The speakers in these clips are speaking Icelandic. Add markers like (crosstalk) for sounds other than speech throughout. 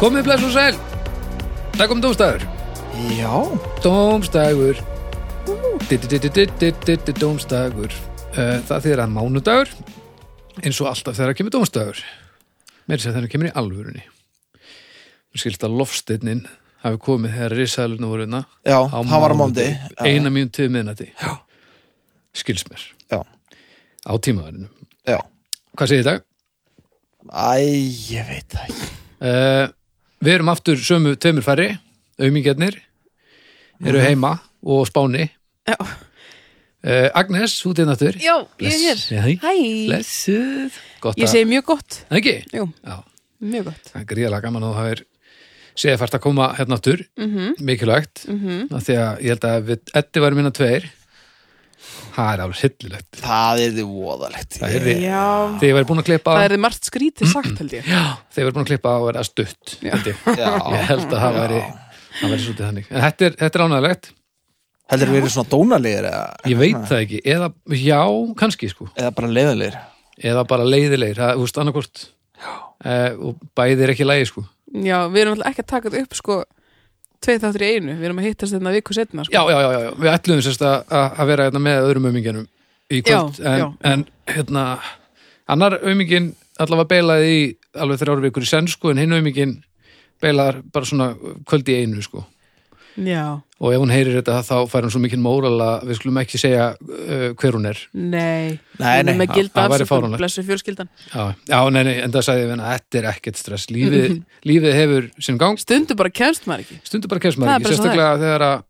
Komið bless og sæl Takk um dómstæður Já, Dómstægur Dómstægur Eh, Það þýðir að mánudagur eins og alltaf þegar að kemur dómstægur meir sér þegar að kemur í alvörunni Mér skilst að lofstinnin hafi komið þegar risalinu voruðna já, hann var á mándi Eina mínum til miðnætti Skilst mér Já, á tímaðarinu já Hvað segir þetta? Æ, ég veit það ekki Uh, við erum aftur sömu tveimur færri, auðmingjarnir, Mhm. eru heima og á spáni. Já. Uh, Agnes, út einn aftur. Já, ég er hér. Hæ. Hæ, Blessuð. Gott ég að... segi mjög gott. En ekki? Jú, Já, mjög gott. það er gríðalega gaman að það er segja fært að koma hérna aftur, Mhm. mikilvægt, mm því að ég held að við, Eddi varum minna tveir, það er alveg hillilegt. Það er þið voðalegt Það er því, Já, þegar ég væri búin að klippa, það er margt skrítið sagt held ég. já, þegar ég væri búin að klippa og er að stutt, held ég. Já, ég held að það væri það væri svolítið þannig en þetta er, þetta er ánægilegt, heldur við erum svona dónalegir eða, ég veit það ekki eða, já, kannski sko eða bara leiðalegir eða bara leiðilegir, það, þú veist, annarkvort eh, og bæði er ekki lægi sko Já, við erum alltaf ekki að taka þetta upp sko tveið þáttur í einu. Við erum að hittast þetta viku setna sko. já, já, já, já, já, við ætlum sérst að, að að vera hérna, með öðrum auminginum í kvöld Já, en, já. en hérna annar aumingin allavega beilaði í alveg þrjár vikur í senn sko en hinn aumingin beilar bara svona kvöld í einu sko Já. og ef hún heyrir þetta þá fær hún svo mikinn móral að við skulum ekki segja uh, hver hún er Nei, Nei, nei, Við erum að gilda það væri afsökun, fáránlegt. blessuð fjölskyldan Já, já, nei, nei, en það sagði ég að þetta er ekkert stress lífið, (laughs) lífið hefur sinn gang Stundum bara kemst maður ekki stundur bara kemst Það maður er ekki, bara svo sérstaklega þegar að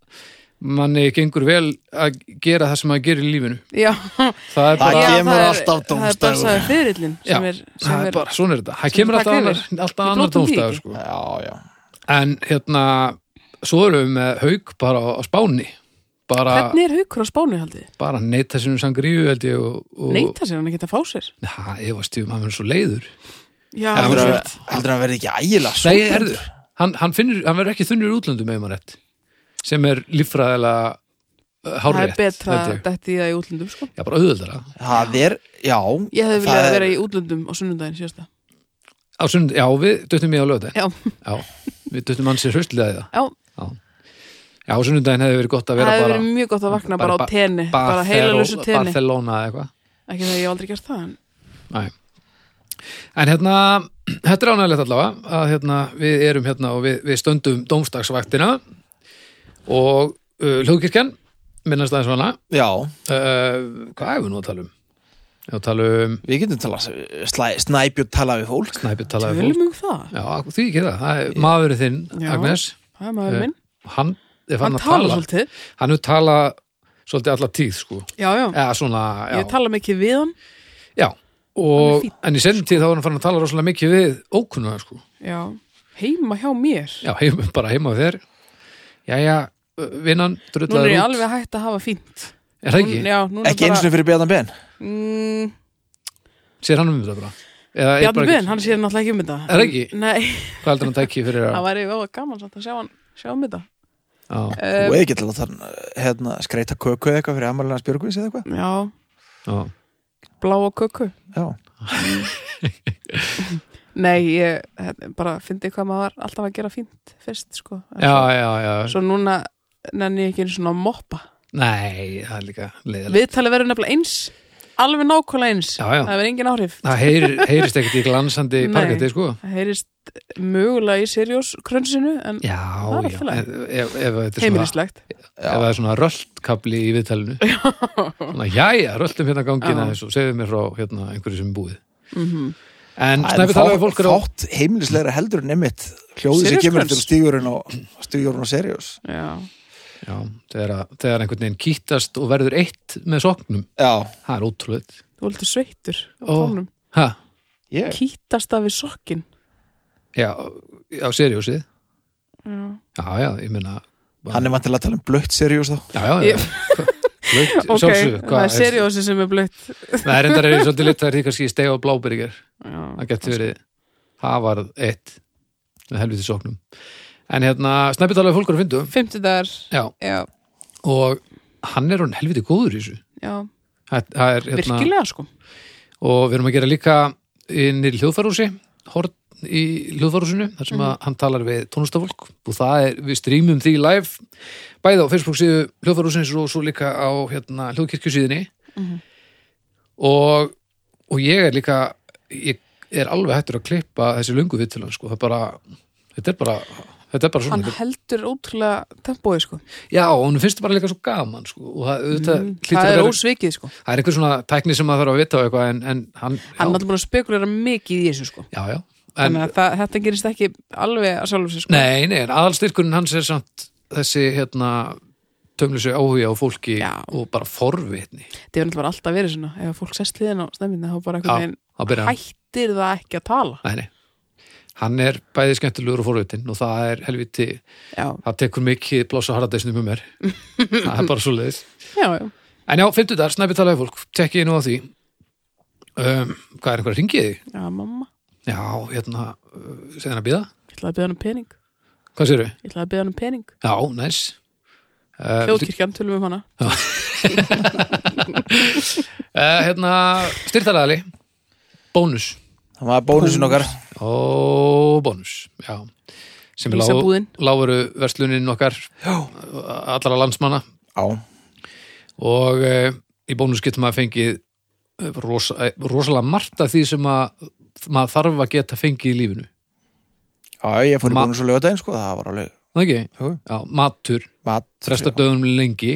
manni gengur vel að gera það sem maður gerir í lífinu Já, það er bara, Já, Já, kemur það er- alltaf Það er bara dómsdagur. svo að fyrirlin já, sem er, sem það er er bara svona er þetta, það sem kemur taka alltaf yfir. annar, alltaf Við annar brotum því tómstæður ekki. sko. Já, já en hérna, svo erum við með haug bara á- á spáni bara, Hvernig er haukur á spánu haldið? bara neita sinum sangríu held ég og, og Neita sér hann ekki að fá sér Ha, ég var stífum, hann verður svo leiður Já, Hann Heldur verður- já, að- heldur að hann verði ekki ægilega Nei, súrkendur? herðu, hann, hann, finnur, hann verður ekki þunnur í útlöndum með maður rétt sem er líffræðilega uh, það er hárrétt betra held að ég. detti í það í útlundum sko Já, bara auðvöldara Það er, já Ég hefði það viljað er- að vera í útlöndum á sunnundaginn síðasta. á sund, Já, við duttum í á lögudaginn Já, Já, við duttum hann sér hraustlega í það já Já, á sunnudaginn hefði verið gott að það vera hefði bara verið mjög gott að vakna bara, bara á tenni, bara heila lusu tenni. Barcelona eða eitthvað Ekki það ég hef aldrei gert það, en Nei. En hérna, þetta er ánægilegt allavega að hérna, við erum hérna og við, við stöndum dómstagsvaktina og uh, hljóðkirkjan minnast aðeins vana Já, uh, Hvað hefur nú að tala um? Já, tala um við getum talað slæ- Snæbjörn talað við fólk Snæbjörn talaði við tölum fólk um það. Já, því ekki það, það er maðurinn þinn, Já. Agnes Það er maður Eh, minn. Hann, ef hann, Hann að tala tala svolítið. Hann hefur talað svolítið alla tíð, sko Já, já. Eða svona, já, Ég tala mikið við hann. já. Hann er Og, fínn, En í senn tíð þá er hann farin að tala rosalega mikið við ókunnuga, sko Já. Heima hjá mér. Já, heim, bara heima við þér Jæja, vinnan, Nú er drullar ég út alveg hægt að hafa fínt. Er það Nú- ekki? Já, nú er Ekki eins og fyrir Bjartan Ben Mm, Sér hann um þetta bara? Eða er bara Bjarni ekki- Ben, hann sér náttúrulega ekki um þetta. Er það ekki? Nei, Hvað heldur hann tæki fyrir það að væri ó, gaman samt að sjá hann, sjá um þetta. Já, Þú Um, eða getur að það hérna, skreita köku eða eitthvað fyrir Amalina Spjörgvís eða eitthvað já, já, bláa köku. Já, Nei, ég þetta er bara fyndi hvað maður var alltaf að gera fínt fyrst, sko. En já, svo, já, já. svo núna nenni ég ekki einu svona að moppa. Nei, það er líka leiðilegt Viðtalið verður nefnilega eins, alveg nákvæmlega eins. Já, já. Það verður engin áhrif. Það heyr, heyrist ekkert í glansandi Nei. parketti, sko. Það heyrist mögulega í Sirius krönsinu, en Já, Það er já. allt í lagi. Ef, ef, ef, þetta er svona, heimilislegt. ef það er svona röldkabli í viðtalinu. Svona, jæja, röldum hérna gangin Já. aðeins og segðu mér frá hérna, einhverju sem er búið. Mm En Það er snæfið talaði fólk er á... fátt heimilislegra heldur en einmitt hljóðið sem Serious kemur Crimes? til stígurinn og stígurinn og seriós Já, Já, þegar, að- þegar einhvern veginn kýttast og verður eitt með soknum. Já, Það er ótrúlega. þú er lítið sveittur á Ó. tónum. Ha, ég Kýtast af við sokkin. já, á seriósið. Já. Já, já, ég meina... Hann er vantilega að tala um blöitt seriós þá Já, já, Ég- já. Laut, (laughs) Ok, sjálfsög, það er Siriusi sem er blöitt. Það er endar er ég svolítið lit, það er því kannski steg á blábyrgir. Já, það getur verið hafarð eitt með helviti sóknum en hérna, snæpið talaði fólkur að fyndu fymtudagar, já, já, og hann er hann helviti góður í þessu já, það, það er, hérna, virkilega sko. og við erum að gera líka inn í hljóðfærhúsi horn þátn í hljóðvarúsinu þar sem Mhm. að hann talar við tónlistafólk og það er, við streamum því live bæði á Facebook síðu hljóðvarúsins og svo líka á hérna, hljóðkirkjusíðinni Mhm. og, og ég er líka ég er alveg hættur að klippa þessi lungu við til hann sko, það er bara þetta er bara, þetta er bara svona hann heldur ótrúlega tempói sko. já, og hún finnst þetta bara líka svo gaman sko, og það, auðvitað, hlýtur Mhm. það að er vera- ósvikið sko. það er einhver svona tækni sem maður þarf að vita á eitthvað en, en hann, hann er já, náttúrulega búin að spekulera mikið í þessu sko. já, já en, þannig að það, þetta gerist ekki alveg að sjálfum sér sko. Nei, nei, en aðalstyrkurinn hans er samt þessi hérna tömlusi áhuga á fólki Já. og bara forvitni þetta er náttúrulega alltaf verið svona ef fólk sest liðin á snemminni þá bara Já, einhvern veginn að byrja hann. hættir það ekki að tala Nei, nei. Hann er bæði skemmtilegur og forvitinn og það er helviti, já, það tekur mikið blása harðadeisnum (laughs) um mér. það er bara svo leiðis. já, já. En já, fimmtu þar, snæpi talaði fólk, tekki ég nú á því. Um, hvað er einhver að ringið þig? já mamma, Já, hérna, uh, segðan að býða. ég ætlaði að beða hann um pening Hvað sérðu? ég ætlaði að beða hann um pening Já, næs. Uh, viltu- hljóðkirkjan, tölum um hana uh, hérna, styrtalaðali, bónus. Það var bónusin okkar Ó, bónus, já sem er lá, Ísabúðin, láguru verslunin okkar Já. allra landsmanna Á, og e, í bónus getur maður fengið eh, rosa, eh, rosalega margt af því sem að maður þarf að geta fengið í lífinu á ég fór í Ma- bónus og lögudaginn sko Það var alveg Það ekki? Jú. Já, matur, mat frestar döðum lengi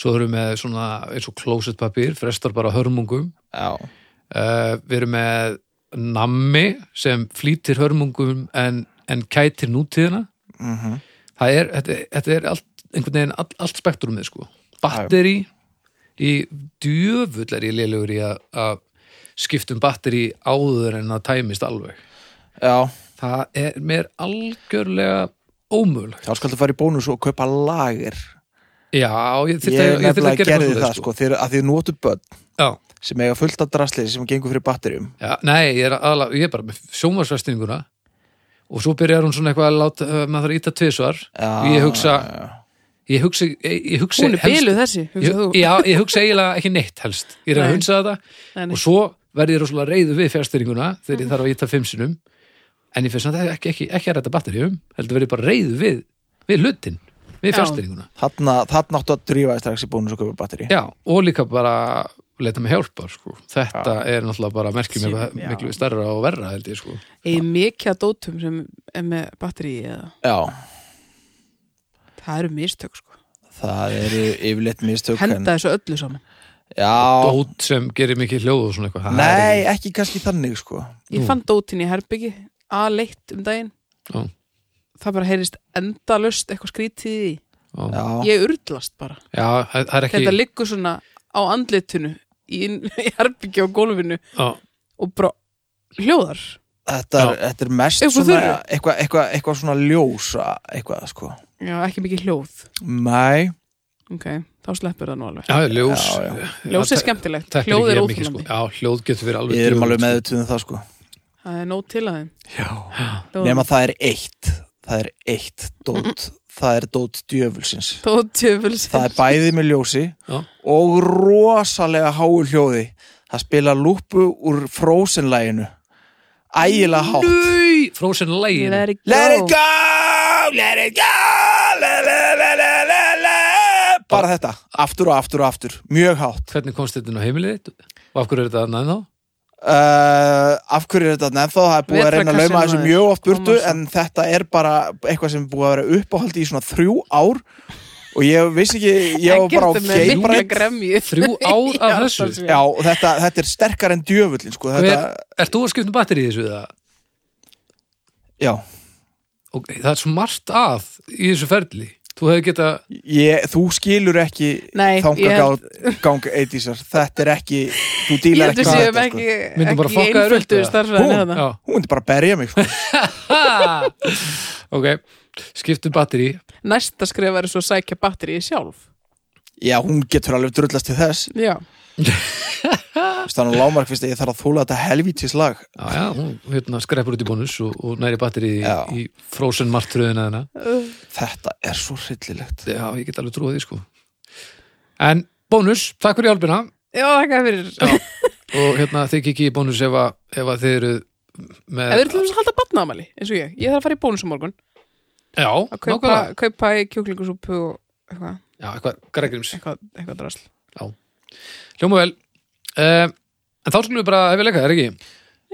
svo erum við með svona eins og klósettpapír, frestar bara hörmungum Já, uh, við erum með nammi sem flýtir hörmungum en, en kætir nútíðina mhm það er, þetta, þetta er allt, einhvern veginn all, allt spektrumið sko. batteri í djöfull er ég lélugur í að, að skipta um batteri áður en það tæmist alveg Já, það er mér algjörlega ómögulegt þá skaltu fara í bónus og kaupa lager já, ég Ég þyrfti að, ég þyrfti nefnilega að gera gerði eitthvað það svoleiðis, sko Þegar að þið notu börn Já, sem eiga fullt af drasli sem gengur fyrir batterjum já, nei, ég er, aðla, ég er bara með sjómarsvestinguna og svo byrjar hún svona eitthvað að láta, uh, maður þarf að íta tvisvar Já, Ég hugsa- já, já. ég hugsa, ég, ég hugsa hún er helst- biluð þessi hugsa ég, þú. já, ég hugsa eiginlega ekki neitt helst ég er að Nei. hunsa þetta Nei, nei. og sko- svo verð ég rosalega reyðu við fjárstyringuna þegar ég þarf að íta fimm sinnum en ég finnst samt ekki, ekki, ekki að ræta batteríum heldur verð ég bara reyðu við, við lutin við Já. fjárstyringuna Þarna, þarna áttu að drífa þig strax í bónus og kaupa batteri já, og líka bara leita með hjálpar sko. þetta er náttúrulega bara merkjum Sér, eitthvað já. miklu stærra og verra held ég sko Eigið mikið að dótum sem er með batteri í eða Já, það eru mistök sko það eru yfirleitt mistök en- henda þessu öllu saman Já, dót sem gerir mikið hljóð og svona eitthvað það nei, ekki kannski þannig sko ég Nú. fann dótin í herbyggi aðleitt um daginn Já. það bara heyrist endalust eitthvað skrítið í því. er, já. Já, ég urðlast bara Já, það það er ekki þetta liggur svona á andlitinu í, (laughs) í herbyggi á gólfinu já, og bara hljóðar þetta, er, þetta er mest Upp úr svona þurru. eitthvað eitthva, eitthva svona ljósa eitthvað sko já, ekki mikið hljóð Nei, ok, þá sleppur það nú alveg já, ljós Já, já. ljós er það skemmtilegt, teppir hljóð ekki er jafn mikið, óþólandi sko. Já, hljóð getur verið alveg við erum alveg djöfulegt, sko. meðutuð um það sko það er nóg til að þeim Já Hljóð- Nefn að það er eitt Það er eitt dót Það er dót djöfulsins þó tjöfuls Það er bæði með ljósi Já. og rosalega háu hljóði Það spila lúpu úr Frozen-læginu Ægilega hátt Nei, Frozen lægin let it go, Let it go, let it go la, la, la, la, la, la. Bara þetta, aftur og aftur og aftur Mjög hátt Hvernig komst þetta inn á heimilið þitt? Og af hverju er þetta annað en þá? uh, Af hverju er þetta nefnþá Það er búið að reyna að lauma þessu Vetrarkassin, mjög oft burtu Thomas. En þetta er bara eitthvað sem er búið að vera uppáhaldi í svona þrjú ár Og ég vissi ekki, ég var bara á feibrætt (laughs) Þrjú ár af þessu? Já, og þetta, þetta er sterkar en djöfullin sko. Hver, þetta, Ert þú að skipta um batteri í þessu það? Já, Og það er svo margt að í þessu ferli Þú hefði geta ég, þú skilur ekki Nei, þangagang (laughs) gang 80sar Þetta er ekki, þú Ég dílar heldur ekki sem við ekki, þetta, sko. ekki, Myndum bara ekki fokka þér upp, einföldu hérna. eða? starfræðin Hún, eða já. sko. Hún myndi bara að berja mig sko. Ha! Ok, um skiptum batteri Næsta skrif er svo að sækja batteri í sjálf Já, hún getur alveg drullast til þess Já, Stann og lámark fyrst að ég þarf að þóla þetta helvítis lag Já, já, hún hérna, skreppur út í bónus og, og næri batteri í, Já. í Frozen martröðina þennan Þetta er svo hryllilegt Já, ég get alveg trúið því sko En bónus, takk fyrir hjálpina já þakka fyrir og hérna þið kikið í bónus ef að, ef að þið eru með, Ef við erum til þess að halda batnaðamæli, eins og ég, ég þarf að fara í bónus á morgun Já, að kaupa, nákvæmlega kaupa í kjúklingusúpu og eitthvað, Já, eitthvað grægrims eitthvað, eitthvað drasl. Hljóma vel uh, En þá skulum við bara hefja leika, er ekki?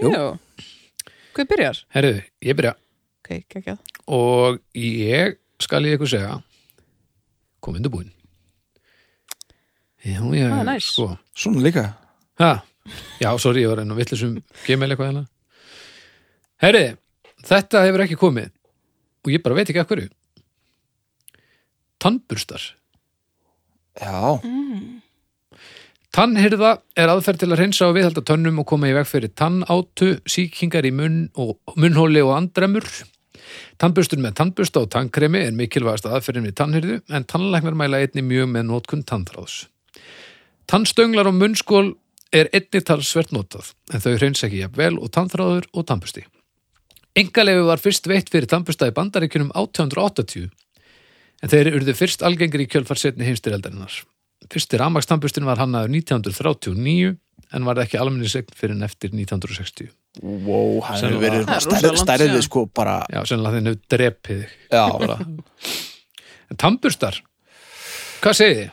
Jú. Jú. Hvað byrjar? Herriðu, ég byrja Ok, geggjað. og ég skal ég ykkur segja kom undirbúin Já, já, Ah, nice. sko Svona líka ha, Já, sorry, ég var enn og vitlisum gmail eitthvað hérna Herriði, þetta hefur ekki komið og ég bara veit ekki af hverju Tannburstar Já, Tannhyrða er aðferð til að hreinsa og viðhalda tönnum og koma í veg fyrir tannátu, sýkingar í munn og, munnhóli og andremur. Tannbustur með tannbusta og tannkremi er mikilvægast aðferðin við tannhyrðu en tannlæknar mæla einni mjög með nótkun tannþráðs. Tannstönglar og munnskól er einni talsvert notað en þau hreinsa ekki jafn vel og tannþráður og tannbusti. Engalegu var fyrst veitt fyrir tannbusta í bandaríkjunum 1880 en þeir urðu fyrst algengri í kjölfarsetni heimstyreldarinnar. Fyrsti rafmakstambustin var hannaður 1939 en varð ekki almenni segn fyrir en eftir 1960. wow, hann Sennilega. hefur verið Það er rosa stærð- langt stærðið síðan. sko bara Já, sennilega þeir nefn drepið þig. Já, bara. En tambustar, hvað segið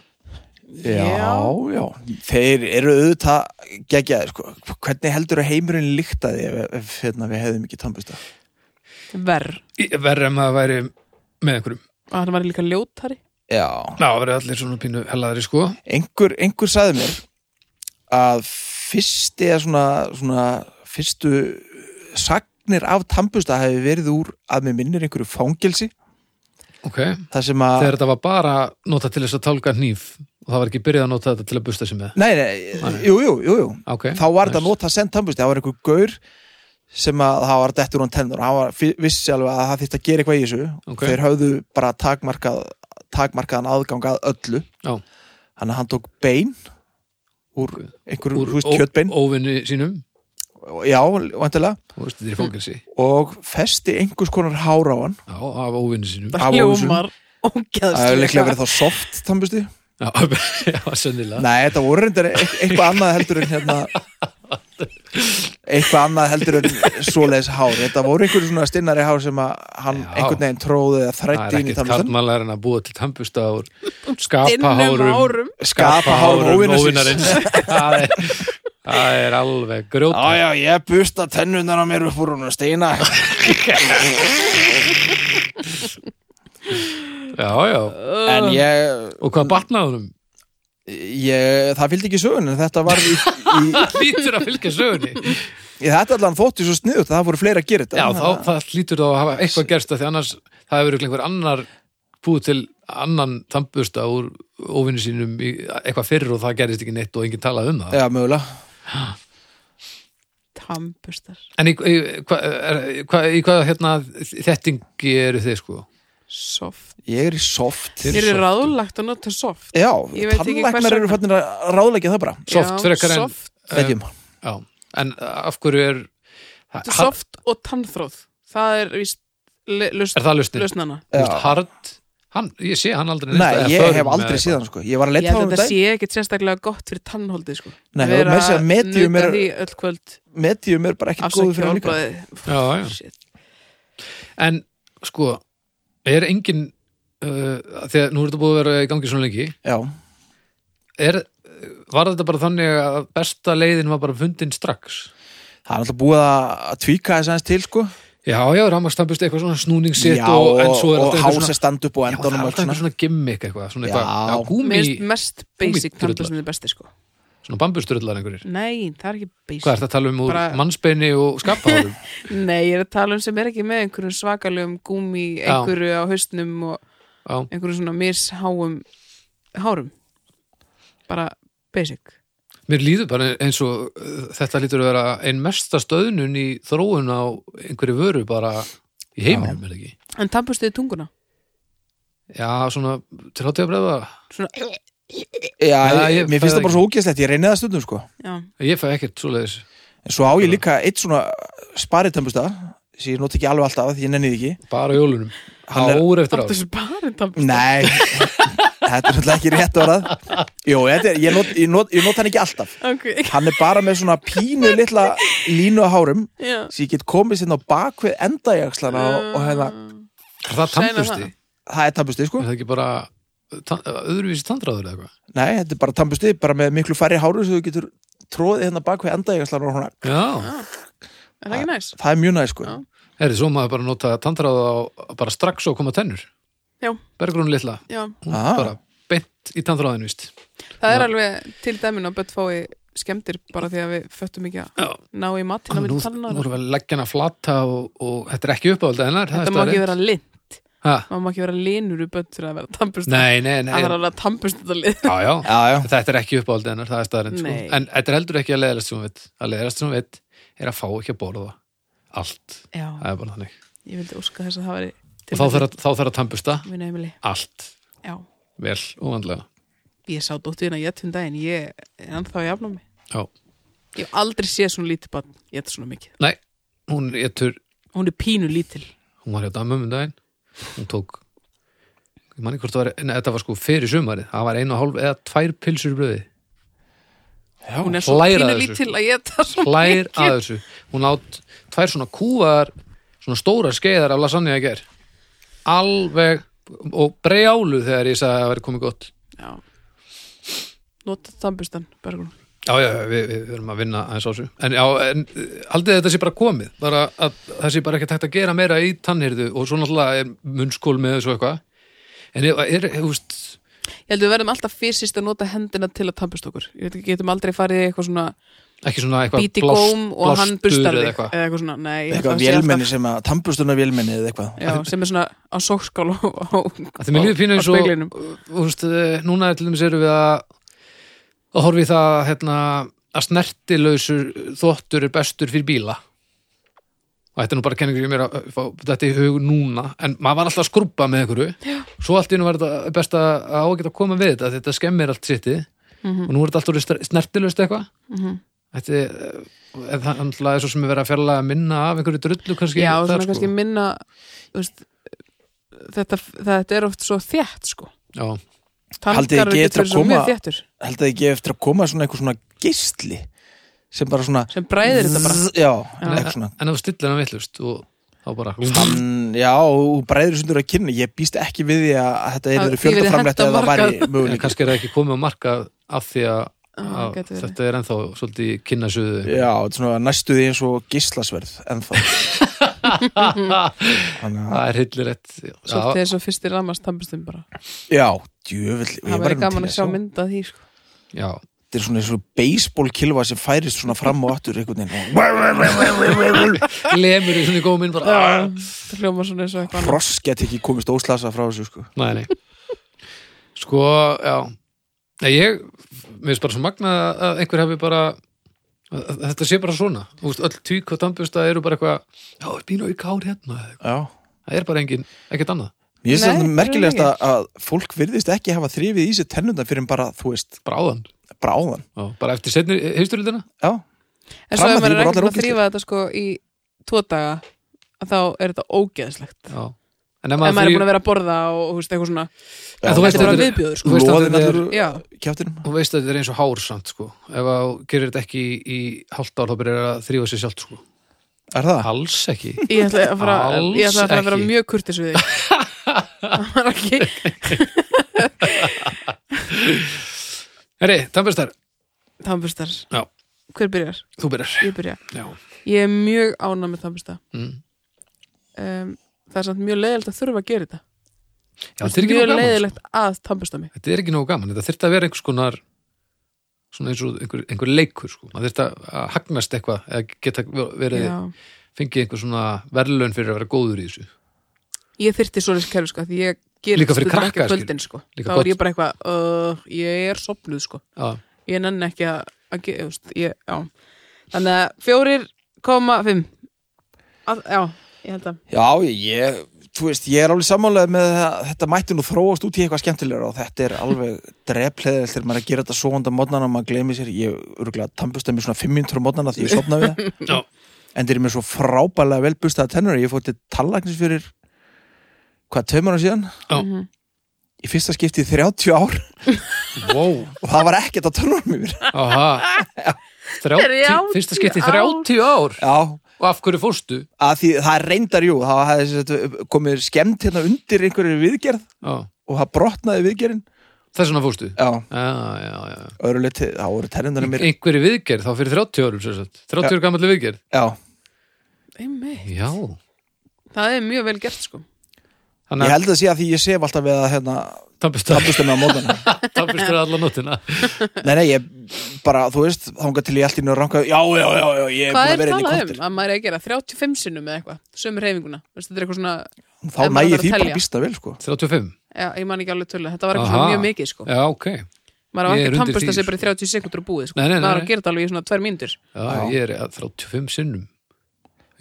þið? já, já Þeir eru auðvitað geggjaðir sko Hvernig heldur að heimurinn líktaði ef, ef hérna, við hefðum ekki tannbusta Verr. Í- Verra en maður væri með einhverjum. Að hann var líka ljótari. Já, Ná, það verið allir svona pínu hellaðari sko. einhver, einhver sagði mér að fyrst eða svona, svona fyrstu sagnir af tannbusta hefði verið úr að mér minnir einhverju fangelsi Ok, þar sem að þegar þetta var bara notað til þess að tálka hníf og það var ekki byrjað að nota þetta til að busta sig með. Nei, nei, jú, jú, jú, jú. Ok, þá var þetta nice. notað sem tannbusti, það var einhver gaur sem að það var dettur hún tennur hann var, vissi alveg að það þýtti að gera eitthvað í þessu Ok. þeir höfðu bara takmarkað takmarkaðan aðgang að öllu Já. þannig að hann tók bein úr einhverju, þú veist, ó- kjötbein óvinni sínum, já, vantilega þú veist, þetta er í fókelsi. og festi einhvers konar hár á hann Já, af óvinni sínum. Af Það hljómar ógeðslega. það hefur líklega verið þá soft tannbusti Já, (laughs) já sennilega. nei, þetta voru reyndar e- eitthvað annað heldur en hérna eitthvað annað heldur en svoleiðis hár þetta voru einhverju svona stinnari hár sem að hann Já. einhvern veginn tróði eða Það þrætti er inn í ekkert tannbustan kartmælar en að búa til tannbusta úr Dinnum skapahárum árum. skapa hárum (laughs) óvinnarins það, er- það er alveg grjót já, já, ég busta tennunar á mér upp úr hún og steina já, já. en ég, og hvað batnaði honum? ég það fylgdi ekki sögun en þetta var í, í, lítur að fylgja sögunni í, þetta allan þótti svo sniðut það voru fleira að gera þetta já, þá, það lítur þá að hafa eitthvað gerst af því annars það hefur örugglega einhver annar búið til annan tannbusta úr óvinni sínum í, eitthvað fyrir og það gerist ekki neitt og enginn talaði um það já, mögulega Tambustar. en í, í, hva, er, hva, í hvað hérna þettingi eru þið sko? Soft. Ég er í soft Þið Ég eru er softum. ráðlagt að nota soft. Já, Ég veit ekki hvers tannlæknar eru vegna. fannir að ráðleggja það bara soft Já, frekar en Soft, Vegjum já, en uh, af hverju er er soft og tannþróð. Það er víst le- lausn- það lustin? lausnana. Þú veist, Já. hard hann, ég sé hann aldrei neitt Nei, eða ég förum hef eða aldrei eitthvað. séð hann sko Ég var að Ég leta á held að hann þetta dag sé ekkit sérstaklega gott fyrir tannholdið sko. Nei, það var meira að segja medium nuta er, því öll kvöld medium er bara ekki góðu afsakja fyrir hann líka álbræði Já, já. en sko, er engin uh, þegar nú er þetta búið að vera í gangi svona lengi Já, er, var þetta bara þannig að besta leiðin var bara fundin strax það er alltaf búið að að tvíka þess aðeins til sko já, já, rámakstambust eitthvað svona snúningssitt Já, og, en svo er og alltaf hása eitthvað svona, stand upp og já, það er endanum og alltaf svona eitthvað svona gimmick eitthvað, svona eitthvað Já. já, gúmi, Mér finnst mest basic gúmmídrullar. tannbustin er besti sko. svona bambustrullar einhverjir Nei, það er ekki basic hvað er þetta að tala um úr Bara- mannsbeini og (laughs) skaphárum Nei, ég er að tala um sem er ekki með einhverjum svakalum gúmi, Já. einhverju á haustnum og já, einhverjum svona misháum hárum bara basic Mér líður bara eins og uh, þetta lítur að vera einn mesta stöðnun í þróun á einhverju vöru bara í heiminum, er það ekki? En tannbustuði tunguna Já, svona til hátíða breyða. svona, Já, Nei, ég- ég mér fæ finnst það það bara svo ógeðslegt, ég reyni það stundum sko já, Ég fæ ekkert svoleiðis. En svo á ég líka eitt svona sparið tambusta sem ég nota ekki alveg alltaf því ég nenni því ekki Bara á jólunum. Hann er- Ár eftir áttu ár. þessu bara tannbustuði Nei, (laughs) þetta er náttúrulega ekki rétt orðað Jó, þetta er, ég, not, ég, not, ég not hann ekki alltaf Ok, (laughs) Hann er bara með svona pínu litla línu á hárum já sem ég get komið sérna á bakvið endajakslana og, hérna og hefða, Er það Sæna tannbusti? það. það er tampusti sko Er það ekki bara tan- öðruvísi tandráður eða eitthvað? Nei, þetta er bara tampusti, bara með miklu færri hárum sem þú getur tróðið hérna bakvið endajakslana og svona, Já, Er það ekki næs? það er mjög næ sko Já. er þið svo maður bara nota tandráða á bara strax og koma tennur? Já. Bergrún litla, Já, hún Ah. bara beint í tandráðinu, víst. það er Já. alveg til dæmin að börn fái skemmtir bara því að við föttum ekki að Já. ná í matina Nú, með nú tannar erum við að leggja hana flata og, og þetta er ekki uppáhald hennar. það er Þetta má ekki staðreynd. vera linn Ha? maður má ekki vera linur úr börn fyrir að vera tannbust Nei, nei, nei. það er alveg að tannbust þetta lið Já, já. Já, já, Þetta er ekki uppáhald hennar, það er staðarinn sko. Nei. En þetta er heldur ekki að leiðast sem hún veit Að leiðast sem hún veit er að fá ekki að borða Allt, Já, það er bara þannig ég vildi óska þess að það væri Og þá þarf að, þá þarf að tampusta að minna heimili allt Já, Vel og vandlega ég sá dóttuðina jættun um daginn ég er ennþá í afnámi Já. Ég hef aldrei séð svona lítið barn jætt svona mikið Nei, hún getur, Hún er pínu lítil hún var hjá dammum um daginn Hún tók Ég manni hvort það var, nei, þetta var sko fyrir sumarið Það var einu og hálf eða tvær pilsur í blöði Hún er svo hlær pínu að þessu. sko. lítil að jætta (laughs) svona Hlær að þessu Hún átt tvær svona kúvar Svona stórar skeiðar af lasagna að ger Alveg og brjálu þegar ég sagði að það væri komið gott Já Nota tannbustan, Bergrún Já, já, já, við, við verum að vinna aðeins á þessu En já, en eh, haldið þetta sé bara komið bara að það sé bara ekki tægt að gera meira í tannhyrðu og svo náttúrulega er munnskól með þessu og eitthvað En er, er, er úst, Ég held við verðum alltaf fyrst að nota hendina til að tannbusta okkur Ég veit ekki, getum aldrei farið í eitthvað svona ekki svona eitthvað bíti blást- góm og hann blástur bustar eða þig eitthvað. eða eitthvað svona, nei ég held að eitthvað það sé alltaf- vélmenni sem að tampustuna vélmenni eða eitthvað Já, sem er svona á sókskál og, og, Af Því mér líður pínu á eins og speglinum. þú veist, eh, núna til dæmis erum við að að horfa í það hérna, að snertilausur þvottur er bestur fyrir bíla og þetta er nú bara kenningur ég mér að fá þetta í hug núna en maður var alltaf að skrúpa með einhverju Já. svo allt í nú var þetta best að á að geta að koma við þetta þetta skemmir allt sitti Mhm. og nú er þetta alltaf orðið snertilaust eitthvað þetta er eh, það er náttúrulega svo sem er verið að fjarlæga að minna af einhverju drullu kannski Já, svona þar, sko. kannski minna þú veist, þetta, þetta er oft svo þétt sko Já. Haldið þið Tanngarður getur getur að verið svo koma- mjög þéttur held að ég gef eftir að koma svona eitthvað svona geistli sem bara svona sem bræðir þetta bara Zzz, já, eitthvað svona en ef þú stillir hann villust og þá bara Mm, já, og bræður sundur að kynna ég býst ekki við því að að þetta Það- er því við fjölda framrætt henta eða það markað. væri En möguleik kannski er það ekki komið á marka af því að, Ah, að gæti verið. þetta er ennþá svolítið (laughs) kynnasuðu. já, þetta er svona næstu því eins og gíslasverð ennþá þannig að, Það er hillirett. svolítið eins og fyrstir ramast tannbustum bara já, djöfull ég það væri væri nú gaman til að sjá mynda því sko Já, þetta er svona eins og baseball kilva sem færist svona fram og aftur einhvern veginn og lemur í svona góminn bara. "Ah." það hljóma svona eins og eitthvað annað. frosk get ekki komist óslasa frá þessu sko. Nei, nei. Sko, já. Nei, ég, mér finnst bara svo magnað að einhver hefði bara, að, að þetta sé bara svona. Þú veist, öll tík og tambusta eru bara eitthvað, já, er býna auka hár hérna. já Það er bara engin, ekkert annað. Ég finnst Nei, þetta merkilegast raunar að, að fólk virðist ekki hafa þrifið í sér tennundan fyrir en bara, þú veist, Bráðan. bara áðan. Já, bara eftir setni heisturildina. Já, en svo Fram að ef maður því er voru ekki allir að þrýfa þetta sko í tvo daga að þá er þetta ógeðslegt Já. En ef ef maður er þríf- búin að vera að borða og þú veist, eitthvað svona En þú veist þetta er bara þetta er- viðbjóður sko Þú veist að loðin þetta er- allur já, kjáttinum. Þú veist að þetta er eins og hársamt sko ef að þú gerir þetta ekki í, í hálft ár þá byrjar það að þrýfa sér sjálft sko Er það? alls ekki ég ætla að fara Alls ég ætla að, fara að vera ekki. mjög kurtis (laughs) við þig það var ekki Herri, tannbæstar, tannbustar, Já. hver byrjar? þú byrjar ég byrja, Já, ég er mjög ána með tannbusta mm. um, það er samt mjög leiðilegt að þurfa að gera þetta Já þetta er ekki mjög nóg gaman sko. leiðilegt að tannbusta mig Þetta er ekki nóg gaman, þetta þyrfti að vera einhvers konar svona eins og einhver, einhver leikur sko maður þyrfti að- að hagnast eitthvað eða geta verið, já. fengið einhver svona verðlaun fyrir að vera góður í þessu ég þyrti svoleiðis kerfi sko því ég ger Líka fyrir stundum ekki krakka, á kvöldin sko Líka þá gott. er ég bara eitthvað, uh, ég er sopnuð sko Já, ég nenni ekki að, að ge, just, ég, já. þannig að fjórir koma fimm að, já, ég held að Já, ég, þú veist, ég er alveg sammálega með það, þetta mætti nú þróast út í eitthvað skemmtilegra og þetta er alveg drepleðil þegar maður er að gera þetta svo undan mótnana og maður gleymi sér, ég örgulega tannbusta mér svona 500 mótnana því ég sopna við það. Já. En þeir eru mér svo frábælega velbustaða tennur, ég fótti tallagnis fyrir, hvað, tveimur ára síðan? Já. Mhm. í fyrsta skipti í 30 ár (laughs) wow, og það var ekkert að törnum mér aha 30, 30 fyrsta skipti í ár. 30 ár Já, og af hverju fórstu að því það er reyndar jú það hefði sem sagt, komið skemmt hérna undir einhverju viðgerð Já, og það brotnaði viðgerðin þess vegna fórstu Já, já, já, já öðruleiti, þá voru terrendunum mér einhverju viðgerð þá fyrir 30 árum sem sagt. 30 ára gamalli viðgerð Já, Einmitt. já, það er mjög vel gert sko ég þannig að held að sé að því ég sef alltaf við að hérna, (laughs) tappistur tapustu með að (laughs) mótana alla nótina Nei, nei, ég bara, þú veist, þangað til ég allt í njög ranka Já, já, já, já, ég er Hvað búin er að vera inn í talað kortir um? Að maður er að gera 35 sinnum eða eitthvað, sömu reyfinguna Veistu, Þetta er eitthvað svona, Þá Ef maður nægir þarf að því bara telja. býsta vel, sko 35, já, ég man ekki alveg tölu Þetta var eitthvað svona Aha. mjög mikið sko já ok já, Maður var Ég er undir ekki að því, tampast sig sko. bara í 30 sekundur og búið sko. Nei, nei, nei, Maður var nei. að gera þetta alveg í svona tvær mínútur Já. ég er að 35 sinnum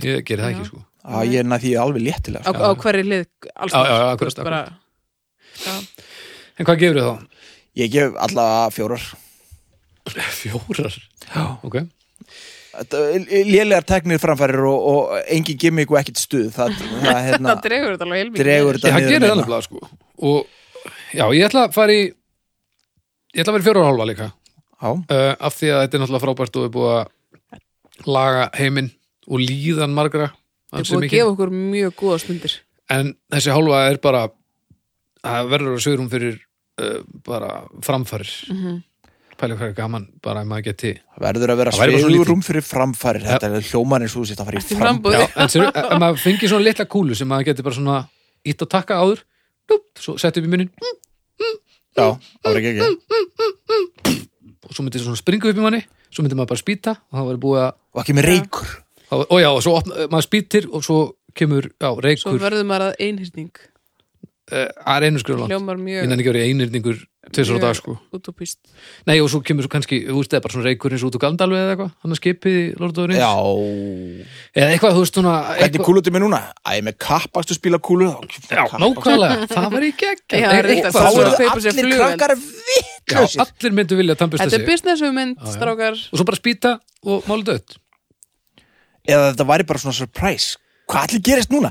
ég gerði það ekki sko Já, ég er næg því alveg á, léttilega, sko. á hverri lið alls Já, já, já, staðar, þú akkurat, veist, bara, já. en hvað (laughs) gefur þú þá? sko Ég gef allavega fjórar fjórar, Já ok lélegar teknir framfærir og, og engin gimmick og ekkert stuð (laughs) það, það hérna, Það dregur þetta alveg heilmikið dregur Já, þetta hérna. það gerir niður meina. það nefnilega sko og já, ég ætla að fara í ég ætla að vera í fjóra og hálfa líka Já, uh, af því að þetta er náttúrulega frábært og er búið að laga heiminn og líðan margra Þetta er ansi búið að mikið. gefa okkur mjög góða stundir en þessi hálfa er bara það verður að sögur hún fyrir uh, bara framfærir mm Mhm. -hmm. pæli hvað er gaman bara ef maður geti það verður að vera Það væri bara svo lítið. sveigrum fyrir framfærir þetta er hljóman eins og þú sétt að fara Þetta í er fram frambúði já, en sér, ef maður fengi svona litla kúlu sem maður geti bara svona ítt að takka áður dúp, svo sett upp í munnin Já, það var ekki ekki og svo myndi svona springa upp í manni svo myndi maður bara spýta og það var búið að og ekki með reykur Þá- og já, og svo opna, maður spýtir og svo kemur, já, Svo reykur það verður maður að einhyrning er einu skrifur langt Hljómar ég mjög nenni ekki að vera einirningur tvisar á dag, sko utopist nei, og svo kemur svo kannski, þú veist, eða bara svona reykur eins og út úr Gandalfi eða eitthvað, hann að skipið í Lord of the Rings, Já, eða eitthvað, þú veist, svona hvernig eitthvað, kúlutum er núna? Æ, með kappakstu spila kúlu já, nákvæmlega, það var í gegn Já, reyndar, Þá Svo eru að kaupa sér allir flugvél. krakkar já, vittlösir allir myndu vilja tampusta Þetta er sig businessumynd, já. strákar og svo bara spýta og máli dött (laughs) Eða þetta væri bara svona surprise Hvað allir gerist núna?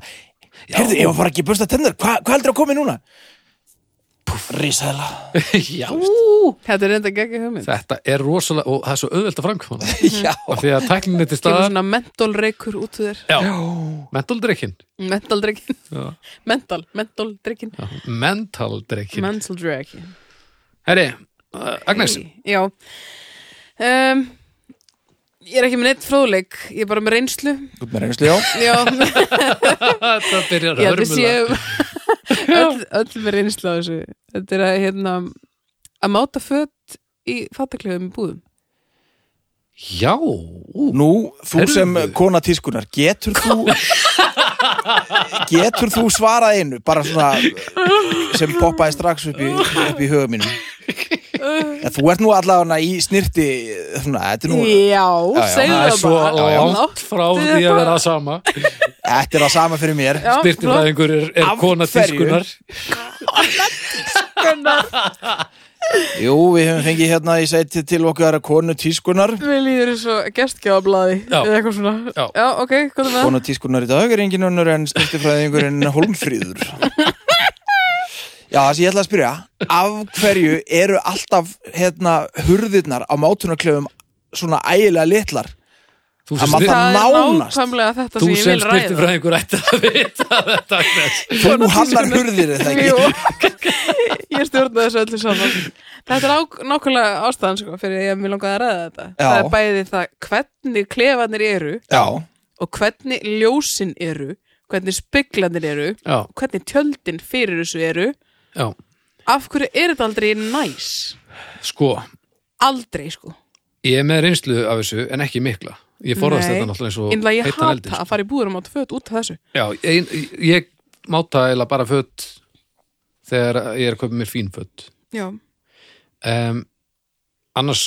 Herðu, ég var bara ekki bursta tennar Hva, Hvað heldur að komi núna? Rísæla já, Ú, Þetta er reynda geggjum hugmynd þetta er rosalega og það er svo auðvelt að framkvæma Já af því að tækninni til Kemur staðar svona mentolreikur út úr þér já, mentaldrykkin Mentaldreikin, Já. (laughs) mental, mentaldreikin mentaldrykkin Mentaldreikin herri, uh, Agnes Já um, Ég er ekki með neitt fróðleik Ég er bara með reynslu Þú ert með reynslu, já Já, (laughs) Þetta byrjar að ég held að hörmula (laughs) sé öll, öll með reynslu á þessu Þetta er að, hérna, að máta fött í fattakleifum í búðum Já, ú, Nú, þú Heyrðu. sem kona tískunar, getur þú getur þú svarað einu bara svona sem poppaði strax upp í, upp í höfu mínum ja, Þú ert nú allavega í snirti svona, þetta, er nú, Já, já, segðu það er það svo bara langt frá Láttu því að þetta- vera það sama þetta er það sama fyrir mér Já, flott. Styrtifræðingur er, er Af kona hverju? tískunar Jú, við höfum fengið hérna í sæti til okkar konu tískunar Mér líður eins og gestgjáðablaði Já. eða eitthvað svona Já. ok, hvað er það? Kona tískunar í dag er engin önnur en snirtifræðingurinn Holmfríður Já, það sem ég ætla að spyrja af hverju eru alltaf hérna, hurðirnar á mátunarklefum svona ægilega litlar Þú Að sem, maður styr, þarf- Það er nánast. nákvæmlega þetta þú sem ég sem vil ræða styrtifræðingur ætti að vita (laughs) þetta Agnes. Þú hannar hurðir þetta Jú, (laughs) ekki ég stjórna þessu öllu saman Þetta er á, nákvæmlega ástæðan sko, fyrir ég að mér langaði að ræða þetta Já. Það er bæði það hvernig klefarnir eru Já, og hvernig ljósin eru hvernig speglanir eru Já, hvernig tjöldin fyrir þessu eru já, Af hverju er þetta aldrei næs? sko Aldrei sko Ég er með reynslu af þessu en ekki mikla Ég forðast Nei. þetta náttúrulega eins og Innlega ég heitan hata eldinn, sko. að fara í búður og máta föt út af þessu Já, ég, ég máta eða bara fött þegar ég er að köpa mér fín fött Já, um, Annars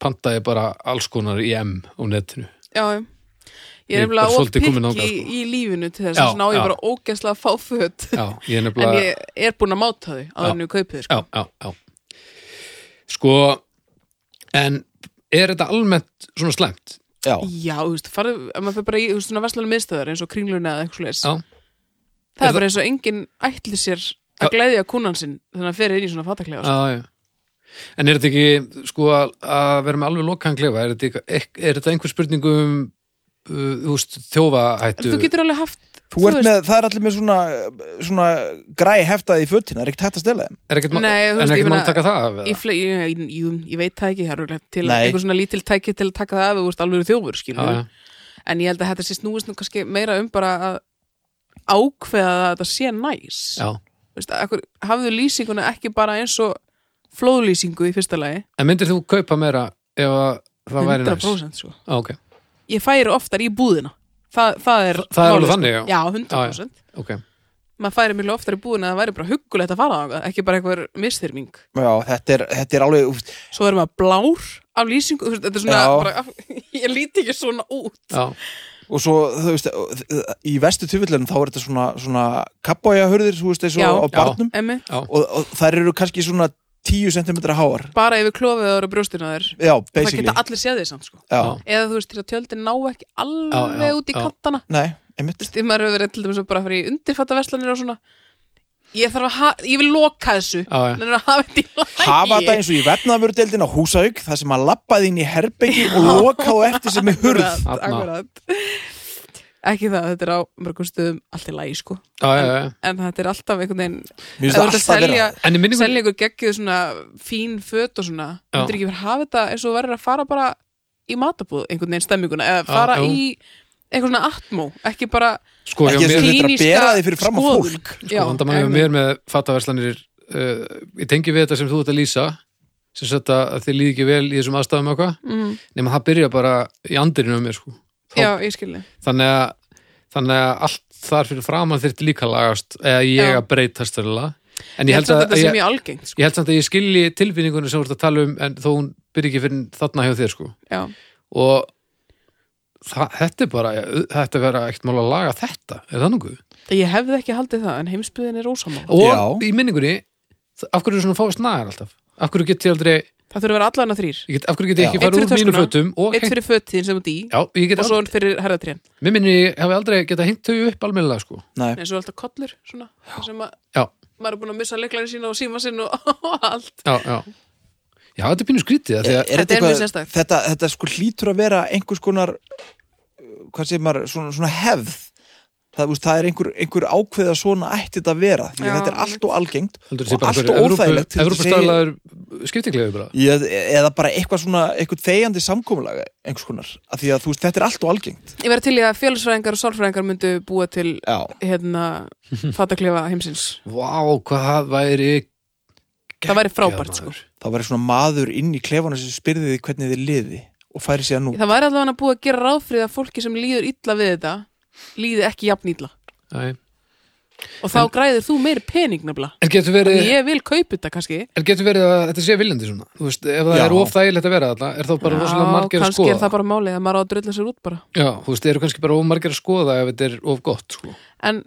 panta ég bara alls konar í M á netinu já, já Ég Ég er er nefnilega bara of svolítið komin pikki þangað, í, sko. í lífinu til þess Já, að ná ég já. bara ógeðslega að fá föt Já, ég er (laughs) En nefnilega ég er búin að máta þau á Já. þannig kaupið sko. já, já, já sko en er þetta almennt svona slæmt já Já, þú veist, farið, ef maður fyrir bara í þú veist, svona verslanum miðstöðar eins og kringluna eða eitthvað leis Já. Það Er er bara eins og enginn ætli sér að gleðja kúnan sinn þannig að fyrir inn í svona fataklega sko. Já, já. En er þetta ekki, sko, að- að vera með alveg lokaðan klefa, er þetta, ekki, ek- er þetta einhver spurning um uh, þú veist, þjófahættu? þú getur alveg haft Þú ert með, það er allir með svona, svona græ heftaði í fötina, er ekkert hægt að stela þeim er ekkert, Nei, Nei, en þú veist, er ég ekkert meina- mál að taka það af? í fle, ég, ég, ég, ég veit það ekki það er örugglega til Nei. einhver svona lítil tæki til að taka það af ef þú ert alveg þjófur skilur Já, já. en ég held að þetta sé snúist nú kannski meira um bara að ákveða að þetta sé næs Já. Vist, akkur, hafðu lýsinguna ekki bara eins og flóðlýsingu í fyrsta lagi En myndir þú kaupa meira ef að það væri næst? 100% sko. Á, ok, ég færi oftar í búðina Þa, það er, það er alveg málið, þannig, já. sko. já, 100% ok. maður færi mjög oftar í búðina að það væri bara huggulegt að fara á ekki bara einhver mistyrming Já, þetta er, þetta er alveg, úst, svo er maður blár af lýsingu þú veist, þetta er svona Já. bara, (laughs) ég líti ekki svona út Já, og svo, þú veist, í vestu tufillunum þá er þetta svona, svona kappájahörðir, þú veist, eins Já. og á Já. barnum emmi, og, og þær eru kannski svona 10 cm háar bara yfir klofið ára brjóstina þér Já, það basically geta allir séð því samt sko Já, Já. eða þú veist til að tjöldin ná ekki alveg Já, já, út í já. kantana nei, einmitt þú veist, ef maður hefur verið til dæmis að bara að fara í undirfattaverslanir og svona ég þarf að, ha- ég vil loka þessu Já, já. þannig að hafa þetta í lagi hafa þetta eins og í vefnaðvörudeldin á Húsavík þar sem maður lappaði inn í herbyggi og loka á eftir sem er hurð Akkurat, Þarna. akkurat. ekki það, þetta er á mörgum stöðum allt í lagi sko já, já, já. en þetta er alltaf einhvern veginn Mér ef finnst þú ert það að alltaf selja, vera En í minningum, selja ykkur geggjuð svona fín föt og svona Já. þú myndir ekki verið að hafa þetta eins og þú verður að fara bara í matabúð einhvern veginn stemminguna eða Já, fara já. í eitthvað svona atmó ekki bara sko, hjá ekki að mér, þú myndir að klíníska bera þig fyrir fram á skoðun. fólk Já, sko, vandamæg hjá en- mér með fattaverslanir, uh, ég tengi við þetta sem þú ert að lýsa, sem sagt að að þið líði ekki vel í þessum aðstæðum og eitthvað, mm, nema það byrja bara í andirinu á mér, sko. Þá- já, ég skilni þannig að, þannig að allt þar fyrir framan þyrfti líka að lagast eða ég Já. að breytast stöðlega en ég ég held held, samt að að, þetta sé ég, mjög algengt sko. ég held samt að ég skilji tilfinningunum sem þú ert að tala um en þó hún byrja ekki fyrir þarna hjá þér sko já, og það, þetta er bara þetta vera ekkert mál að laga þetta er það nokkuð? ég hefði ekki haldið það en heimsbyðin er ósamála og Já. í minningunni þ- af hverju er svona fáið snagar alltaf? af hverju get ég aldrei, það þurfa að vera allan að þrýr ég get, af hverju get ég Já. ekki Einn farið úr fyrir mínu töskuna, fötum og eitt hengt, fyrir fötin sem þú ert í já, ég get og svo aldrei, hann fyrir herðatrén mér minni ég hef aldrei getað hengt þau upp almennilega sko Nei. eins og alltaf kollur svona, þar sem að Já. maður er búin að missa leiklarinn sína og síma sinn og (laughs) og allt já, já, já, þetta er pínu skrítið af því að Er Þetta er mjög eitthvað- sérstakt. þetta, þetta sko hlýtur að vera einhvers konar uh, hvað segir maður, svona, svona hefð það, þú veist, það er einhver, einhver ákveða svona ætti þetta að vera því að Já, þetta er allt og algengt Heldur og allt og óþægilegt til þess að segja- Evrópustæðlaður skiptinglegu bara Ég- eða bara eitthvað svona, eitthvað þegjandi samkomulag einhvers konar, af því að þú veist, þetta er allt og algengt ég verði til í að félagsfræðingar og sálfræðingar myndu búa til Já, hérna (laughs) fattaklefa heimsins Vá, hvað það væri það væri frábært maður. sko það væri svona maður inn í klefana sem spyrði því hvernig þið liði og færi sér nú það væri allavega búið að gera ráð fyrir að fólki sem líður illa við þetta líði ekki jafn illa Æ. og þá græðir þú meiri pening nefnilega En getur verið, ég vil kaupa þetta kannski en getur verið að þetta sé viljandi svona Þú veist, ef það Já. er of þægilegt að vera þarna er þá bara rosalega margir að kannski skoða er það bara málið að maður á að drölla sér út bara Já, þú veist, eru kannski bara of margir að skoða ef þetta er of gott sko. en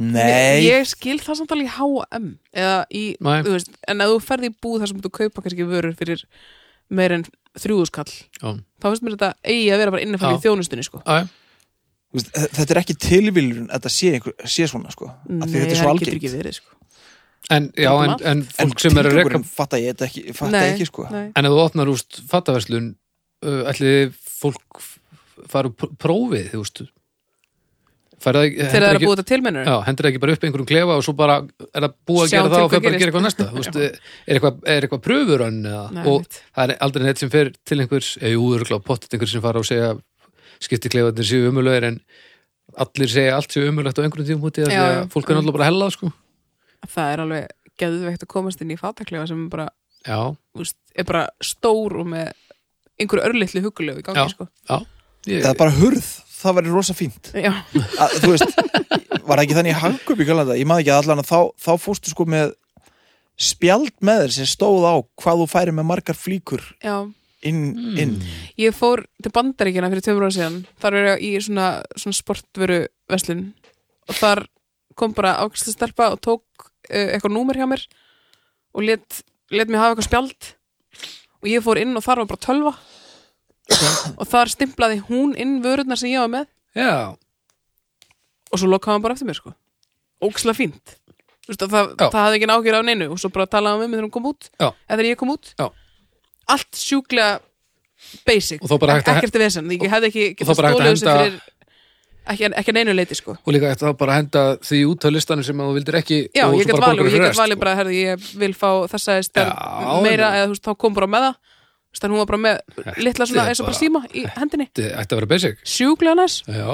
Nei, ég skil það samt alveg í H&M eða í, Nei. þú veist, en að þú ferði í búð þar sem þú kaupa kannski vörur fyrir meir en þrjúðuskall Já, þá finnst mér þetta eigi að vera bara innifæli í Já. þjónustunni sko. Æ, þú veist, þetta er ekki tilviljun að þetta sé, einhver, sé svona sko, af því að þetta er svo það getur algengt ekki verið sko. en, já, Út um en, allt. en en fólk sem er að reka tilgangurinn um, fatta ég þetta ekki, fatta Nei, ekki sko nei. En ef þú opnar úst fattaverslun uh, ætli fólk f- fara úr pr- prófið, þú veist Þegar þegar það er að búa þetta tilmennur Já, hendur það ekki bara upp einhverjum klefa og svo bara er það búið að Sjáum gera til það og hvað fer bara að gerist. gera eitthvað næsta Þú veist, er eitthvað, er eitthvað pröfur hann Nei, eða, og einmitt. það er aldrei neitt sem fer til einhvers eða jú, örgulega pottet einhvers sem fara og segja skipti klefarnir séu umulögir en allir segja allt séu umulögt á einhverjum tíum úti því Já, að já. Mm. fólk er náttúrulega bara hellað sko. það er alveg geðveikt að komast inn í fattaklefa sem er bara, Já, þú veist, er bara stór og með einhverju örlitlu hugulegu í gangi Já. sko. ég, það er bara hurð, það væri rosa fínt Já. að, þú veist, (laughs) var það ekki þannig í hagkaup í galanda, ég maður ekki að allan að þá, þá fórstu sko með spjald með þér sem stóð á hvað þú færi með margar flíkur Já. inn, inn. Hmm. ég fór til bandaríkina fyrir tveimur ára síðan þar er ég í svona, svona sportvöru veslun og þar kom bara ákvæmstu stelpa og tók uh, eitthvað númer hjá mér og let, let mér hafa eitthvað spjald og ég fór inn og þar var bara tölva og þar stimplaði hún inn vörurnar sem ég var með Já, og svo lokaði hann bara eftir mér sko ókslega fínt Þú Þú veist, að það, Já. það hafði ekki ágjör af neinu og svo bara talaði hann við mig þegar hún kom út Já. eða þegar ég kom út Já. allt sjúklega basic Og þá bara hægt að- ekkert vesen, ég hefði ekki þá bara hægt að þessu henda- fyrir ekki, ekki að neinu leiti sko og líka eftir það bara að henda því út af listanum sem þú vildir ekki já, og ég svo get bara valið, borgar og ég fyrir get rest, sko. valið bara herði, ég vil fá þessa í stærð Já, meira en- eða þú veist, þá kom bara með það Þú veist, en hún var bara með litla svona er eins og bara bara- síma í hendinni Þetta ætti að vera basic sjúklega næs, Já,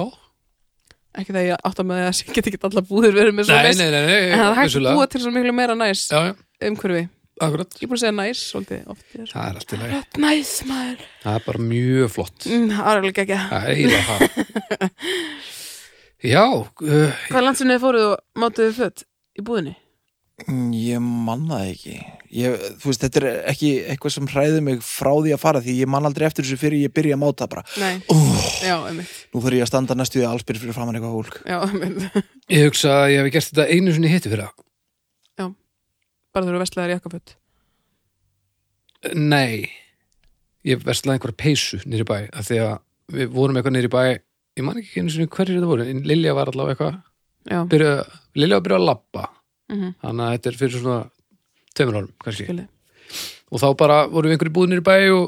ekki það ég átta með það ég get ekki allar búður verið með svo nei, næs nei, nei, nei en það er hægt að vissulega. búa til svo miklu meira næs Já, já, umhverfi, akkurat ég er búin að segja næs svolítið oft Það er allt í lagi, næs maður það er bara mjög flott Mm, Það er alveg ekki Það er eiginlega það Já, uh, Hvað landsinni þið fóruð og mátuðu fött í búðinni? Mm, Ég man það ekki ég, Þú veist, þetta er ekki eitthvað sem hræði mig frá því að fara því ég man aldrei eftir þessu fyrir ég byrja að máta bara Nei, Úh, já, einmitt Nú þarf ég að standa næstu því að allsbyrð fyrir framann eitthvað hólk Já, einmitt (laughs) ég hugsa að ég hef gert þetta einu sinni hittu fyrir það Bara þú eru vestlaðar jakkafött Nei, ég verslaði einhverja peysu nýri bæ af því að við vorum eitthvað nýri bæ ég man ekki einu sinni hverjir þetta voru en Lilja var allavega eitthvað Já, byrja, Lilja var að byrja að labba mm -hmm. þannig að þetta er fyrir svona tveimur árum kannski skilji og þá bara vorum við einhverju búðinir í bæ og,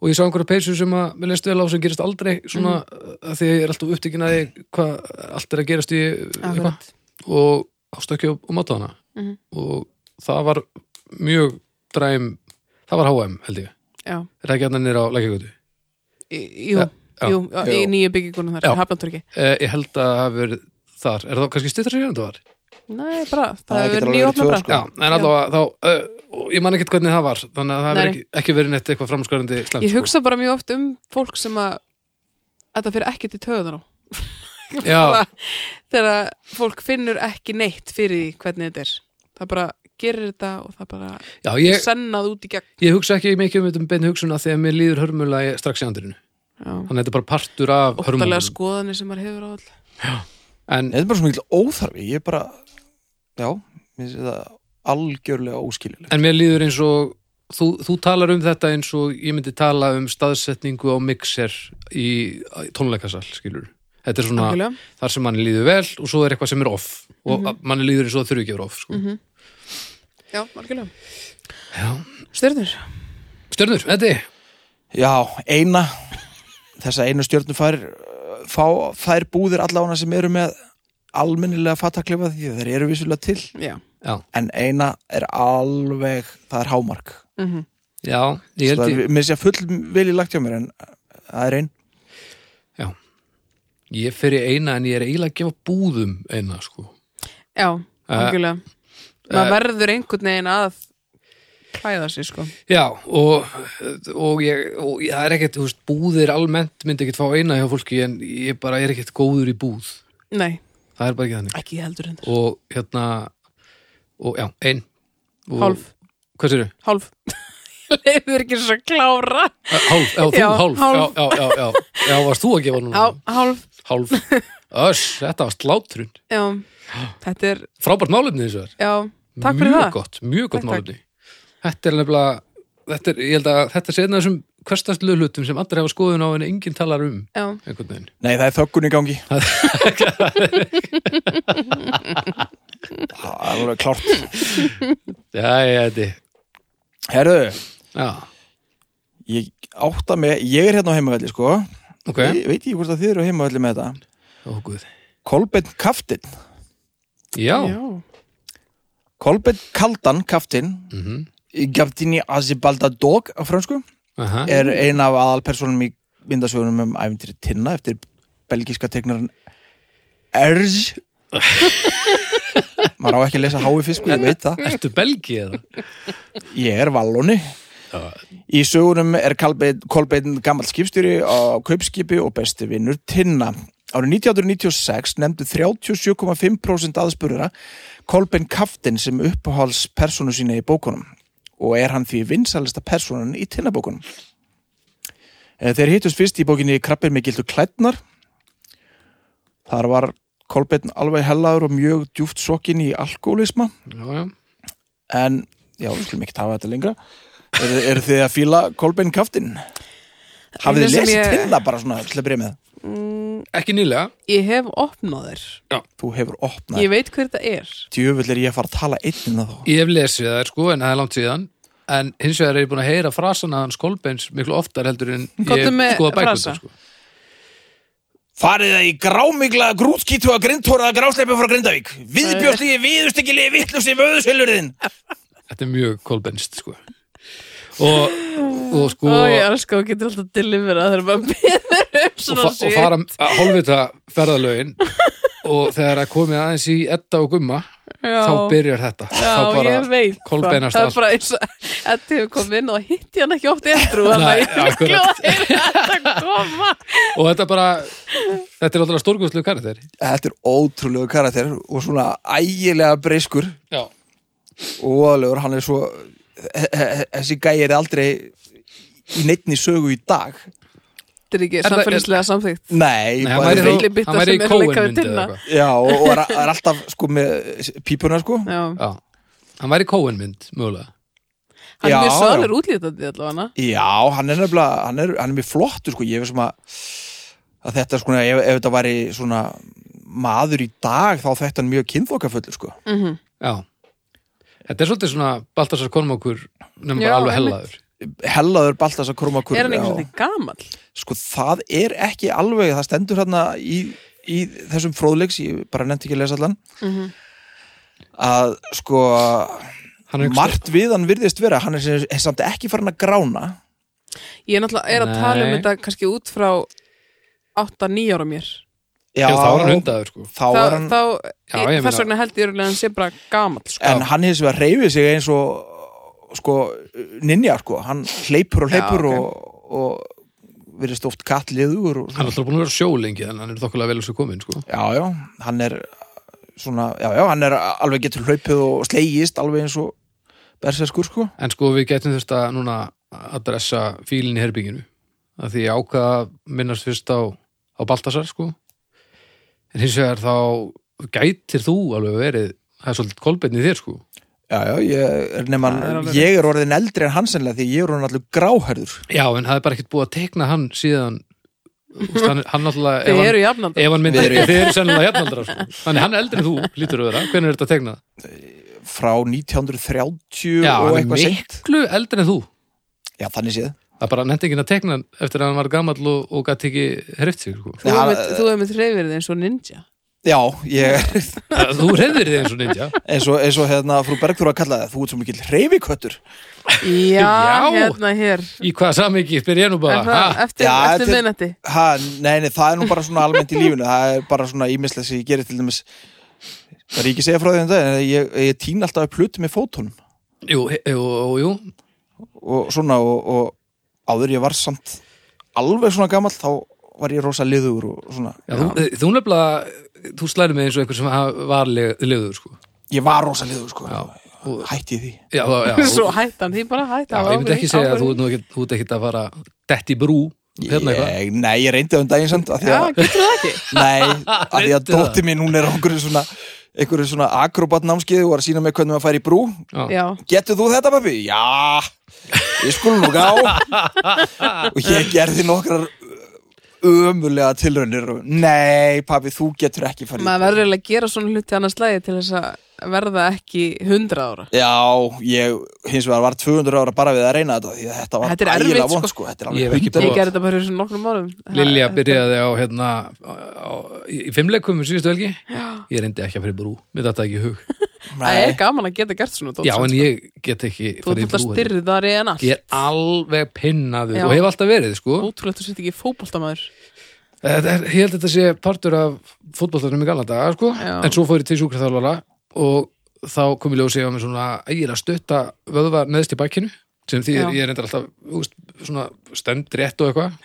og ég sá einhverju peysu sem að mér leist vel á sem gerist aldrei svona Mhm. að því að ég er alltaf upptekinn að því hvað allt er að gerast í eitthvað. Akkurat og ástökja og, og máta hana Mhm. og það var mjög dræm það var HM held ég Já, er það ekki hann nýra á lækjagötu Í- jú, Já, já. jú, já, í Jú. nýju byggingunum Já. þar, hafnanturki eh, ég held að það hafi verið þar er það kannski stýttar sér en það var Nei, bara, það Það hefur getur verið alveg nýja verið tvö, opna sko. bara já, en allavega þá eh, og ég man ekkert hvernig það var þannig að það hefur Nei. ekki, ekki verið neitt eitthvað framskarandi slæmt Ég sko. hugsa bara mjög oft um fólk sem að Þetta fyrir ekkert í töðan á já, bara- Þegar að fólk finnur ekki neitt fyrir því hvernig þetta er Það bara gerir þetta og það bara já ég, sennað út í gegn ég hugsa ekki mikið um þetta um beinu hugsun að því að mér líður hörmulega í- strax í andirinu Já þannig að þetta er bara partur af óttalega sko. hörmulega skoðanir sem maður hefur á all en Nei, Þetta er bara svo mikil óþarfi Ég er bara, já, mér sé það algjörlega óskiljuleg En mér líður eins og þú, þú talar um þetta eins og ég myndi tala um staðsetningu á mixer í í tónleikasal, skilur Þetta er svona Algjörlega. Mhm. þar sem manni líður vel og svo er eitthvað sem er off og mm manni líður eins og það þurfi ekki að vera off sko. Já, margilega Já. Styrnir Stjörnur, þetta er Já, eina Þessa einu stjörnum fær uh, fá, fær búðir allána sem eru með almennilega fattaklefa því þeir eru vissulega til Já, Já, en eina er alveg, það er hámark mm -hmm. já, ég held það ég, er, mér sé full vilji lagt hjá mér en það er einn ég fer í eina en ég er eiginlega að gefa búðum eina sko. já margilega Maður eh. verður einhvern veginn að klæða sig sko Já, og, og, ég, og ég, það er ekkert, þú veist, búðir almennt myndi ekkert fá eina hjá fólki en ég bara er ekkert góður í búð Nei, það er bara ekki þannig ekki heldur hendur og hérna og já, ein og, Hálf, hvað sér hálf (laughs) Leifur ekki svo klára Hálf, já, þú, Já, hálf, hálf. Já, já, já, já, já, varst þú að gefa núna Já, hálf Hálf, (laughs) öss, þetta var slátrun Já, þetta er, frábært málefni þessu er já, takk fyrir mjög það gott, mjög gott Takk, takk. málefni þetta er nefnilega, þetta er, ég held að þetta er sérna þessum hverstastlegu hlutum sem allir hafa skoðun á en enginn talar um Já, einhvern veginn nei, það er þöggun í (laughs) gangi það er alveg klárt já, já, þetta, herðu, já, ég átta mig ég er hérna á heimavalli sko ok ég, veit ég hvort að þið eru á heimavalli með þetta ó, guð, Kolbeinn Kaftin já, já. Kolbeinn Kaldan Kaftin mhm, Gafdini Azibalda Dog á fransku aha er ein af aðalpersonum í myndasögunum um æfintýri Tinna eftir belgíska teiknaran Erz maður á ekki að lesa hái fisku, ég veit það ertu belgi eða? ég er vallunni Já. í sögunum er Kolbeinn Kolbeinn gammal skipstjóri á kaupskipi og besti vinnur Tinna árið 1996 nefndu 37,5% aðspurðara Kolbeinn Kaftin sem uppáhals personu sína í bókunum og er hann því vinsalista personan í tinnabókunum. Eh, Þeir hittust fyrst í bókinni Krabbir með gildu klætnar. Þar var Kolbeinn alveg hellaður og mjög djúft sokkin í alkoholisma já, já, en, já, við skulum ekki hafa þetta lengra. Er, er þið að fíla Kolbeinn Kaftin? Hafið Eina þið sem lesið ég- tinna bara svona til að byrja með? Mm, ekki nýlega Ég hef opnað þér. Þú hefur opnað Ég veit hver þetta er. Djöfull er ég að fara að tala einn um innan þá Ég hef lesið það sko, en það er langt síðan En hins vegar er ég búin að heyra frasan að hans Kolbeins miklu oftar heldur en (laughs) Komdu með ég skoða frasa. bækundar sko. Farið það í grámigla grútskítu að grindtóraða grásleipi frá Grindavík Viðbjóðsli, viðustekili, vittlusi, vöðusilurðin Þetta er mjög Kolbeinst sko. og, og sko Ó, ég elska og getur alltaf deliverað þegar maður beður um og, svona fa og fara að hálfvita ferðalögin og þegar það komið aðeins í Edda og Gumma Já. þá byrjar þetta Já, þá bara ég veit kolbeinast það. Það allt. er bara eins og Eddi hefur komið inn og þá hitti ég hann ekki oft eftir og Nei, þannig að ég akkurat. glóði þetta koma. og þetta bara, þetta er alltaf stórgustlu karakter Þetta er ótrúlegu karakter og svona ægilega breyskur Já, og alvegur, hann er svo he- he- þessi gæi er aldrei í neittni sögu í dag Þetta er ekki Er það- samfélagslega samþygt. Nei, Nei, hann bara- væri, Þetta er þó, litli bitta hann væri sem í er að Coen leika við myndi eða Tinna. eitthvað Já, og er, er alltaf sko með pípuna sko Já. Já, hann væri í Coen mynd mögulega Hann Já, er já. svo alveg útlítandi allavega. Já, hann er nefnilega, hann er, hann er mjög flottur sko, ég veist sem að, að þetta sko, ef, ef þetta væri svona maður í dag, þá þetta hann mjög kynþókafullur sko. Mm -hmm. Já Þetta er svolítið svona Baltasar Kormákur nefnum Já, bara alveg einmitt. hellaður Hellaður Baltas að króma Er hann ekki svolítið gamall? Sko, það er ekki alveg, það stendur hérna í, í þessum fróðleiks, ég bara nefndi ekki að lesa allan, Mhm. að sko, Hann er einhvers- margt við hann virðist vera, hann er, sem- er samt ekki farin að grána. Ég er náttúrulega er að tala um Nei. þetta kannski út frá 8-9 ára mér. Já, þá er hann hundaður sko Þá Þá, er hann, þá, Já, ég, ég þess meina- vegna held ég örugglega að hann sé bara gamall sko. en hann hins vegar reyfið sig eins og sko ninja sko, hann hleypur og Já, hleypur ok. og, og virðist oft kattliður og Hann er alltaf búin að vera sjólengi en hann er þokkulega vel þessu komin sko já, já, hann er svona, já, já, hann er alveg getur hlaupið og slegist alveg eins og berserskur sko En sko við getum þurft að núna adressa fílinn í herbygginu að því ég ákvað að minnast fyrst á, á Baltasar sko en hins vegar þá gætir þú alveg verið það er svolítið kolbeinn í þér sko já, já, ég er nema, Það er alveg ég er orðin eldri en hann sennilega því ég er orðin allir gráherður Já, en það er bara ekkert búið að tekna hann síðan úst, hann, hann náttúrulega ef Þau hann- eru jafnandi. ef hann myndi Við erum- þið eru sennilega jafnaldra sko. þannig hann er eldri en þú, lítur öðra hvernig er þetta að tegna? frá 1930 Já, og hann er eitthvað seint miklu eldri en þú já, þannig séð það er bara nefndi ekki að tegna hann eftir að hann var gamall og, og gæti ekki hreift sig (laughs) sko. Þú Já, hefur eh, þú hefur með treyfirði eins og ninja. já, ég er (laughs) Það- þú reyðir þig eins og ninja eins og, eins og hérna frú Bergþóra kallaði það, þú ert svo mikil reyfiköttur Já, Já. hérna hér. í hvaða samingi spyr ég nú Er bara það ha? eftir, Já, eftir þetta- miðnætti? Ha, nei, nei, það er nú bara svona almennt í lífinu það er bara svona ímislega sem ég gerir til dæmis það er ekki að segja frá því um dag en ég, ég týn alltaf upp hluti með fótunum jú, he- jú, jú, og svona og, og áður ég var samt alveg svona gamall þá var ég rosa liður og svona Já, þú, þú nefnilega þú slæri mig eins og einhver sem ha- var liður sko. ég var rosa liður sko já, og, hætti því já, já, já, (laughs) Svo hætti hann, því bara hætti já, hann. ég myndi ekki segja að þú ert nú ekkert- þú ert ekkert að fara dett í brú hérna eitthvað ég, nei, ég reyndi það um daginn samt af því Já, að, getur það ekki? nei, að því að Reyndu það. dótti mín hún er á einhverju svona einhverju svona akrobat námskeið og var að sína mig hvernig maður fær í brú Já, getur þú þetta pappi? Já, ég skulum nú gá og ég gerði nokkrar ömulega tilraunir og nei pappi, þú getur ekki farið í maður bíó." verður eiginlega að gera svona hluti annars lagi til þess að verða ekki 100 ára. Já, ég hins vegar var 200 ára bara við að reyna þetta því að þetta var Þetta er erfitt, ægilega sko. vont sko. Þetta er Ég hef alveg hundar ekki Ég prófað. og... gerði þetta bara fyrir svona nokkrum árum. Lilja Ha, byrjaði á hérna á, á, í fimmleikum um síðustu helgi ég reyndi ekki að fara í brú, mér þetta ekki í hug Það er gaman að geta gert svona dót, já sko. en ég get ekki Þú farið ert í alltaf brú heldur. styrðari en allt ég er alveg pinnaður Já. og hef alltaf verið sko Ótrúlegt þú sett ekki fótboltamaður Þetta er, ég held að þetta sé partur af fótbollarnum í gamla daga, sko Já. en svo fór ég til sjúkraþjálfara og þá kom ég ljósið á mig svona ægir að stutta vöðva neðst í bakkinu sem því Já. ég er reyndar alltaf úst, svona stend rétt og eitthvað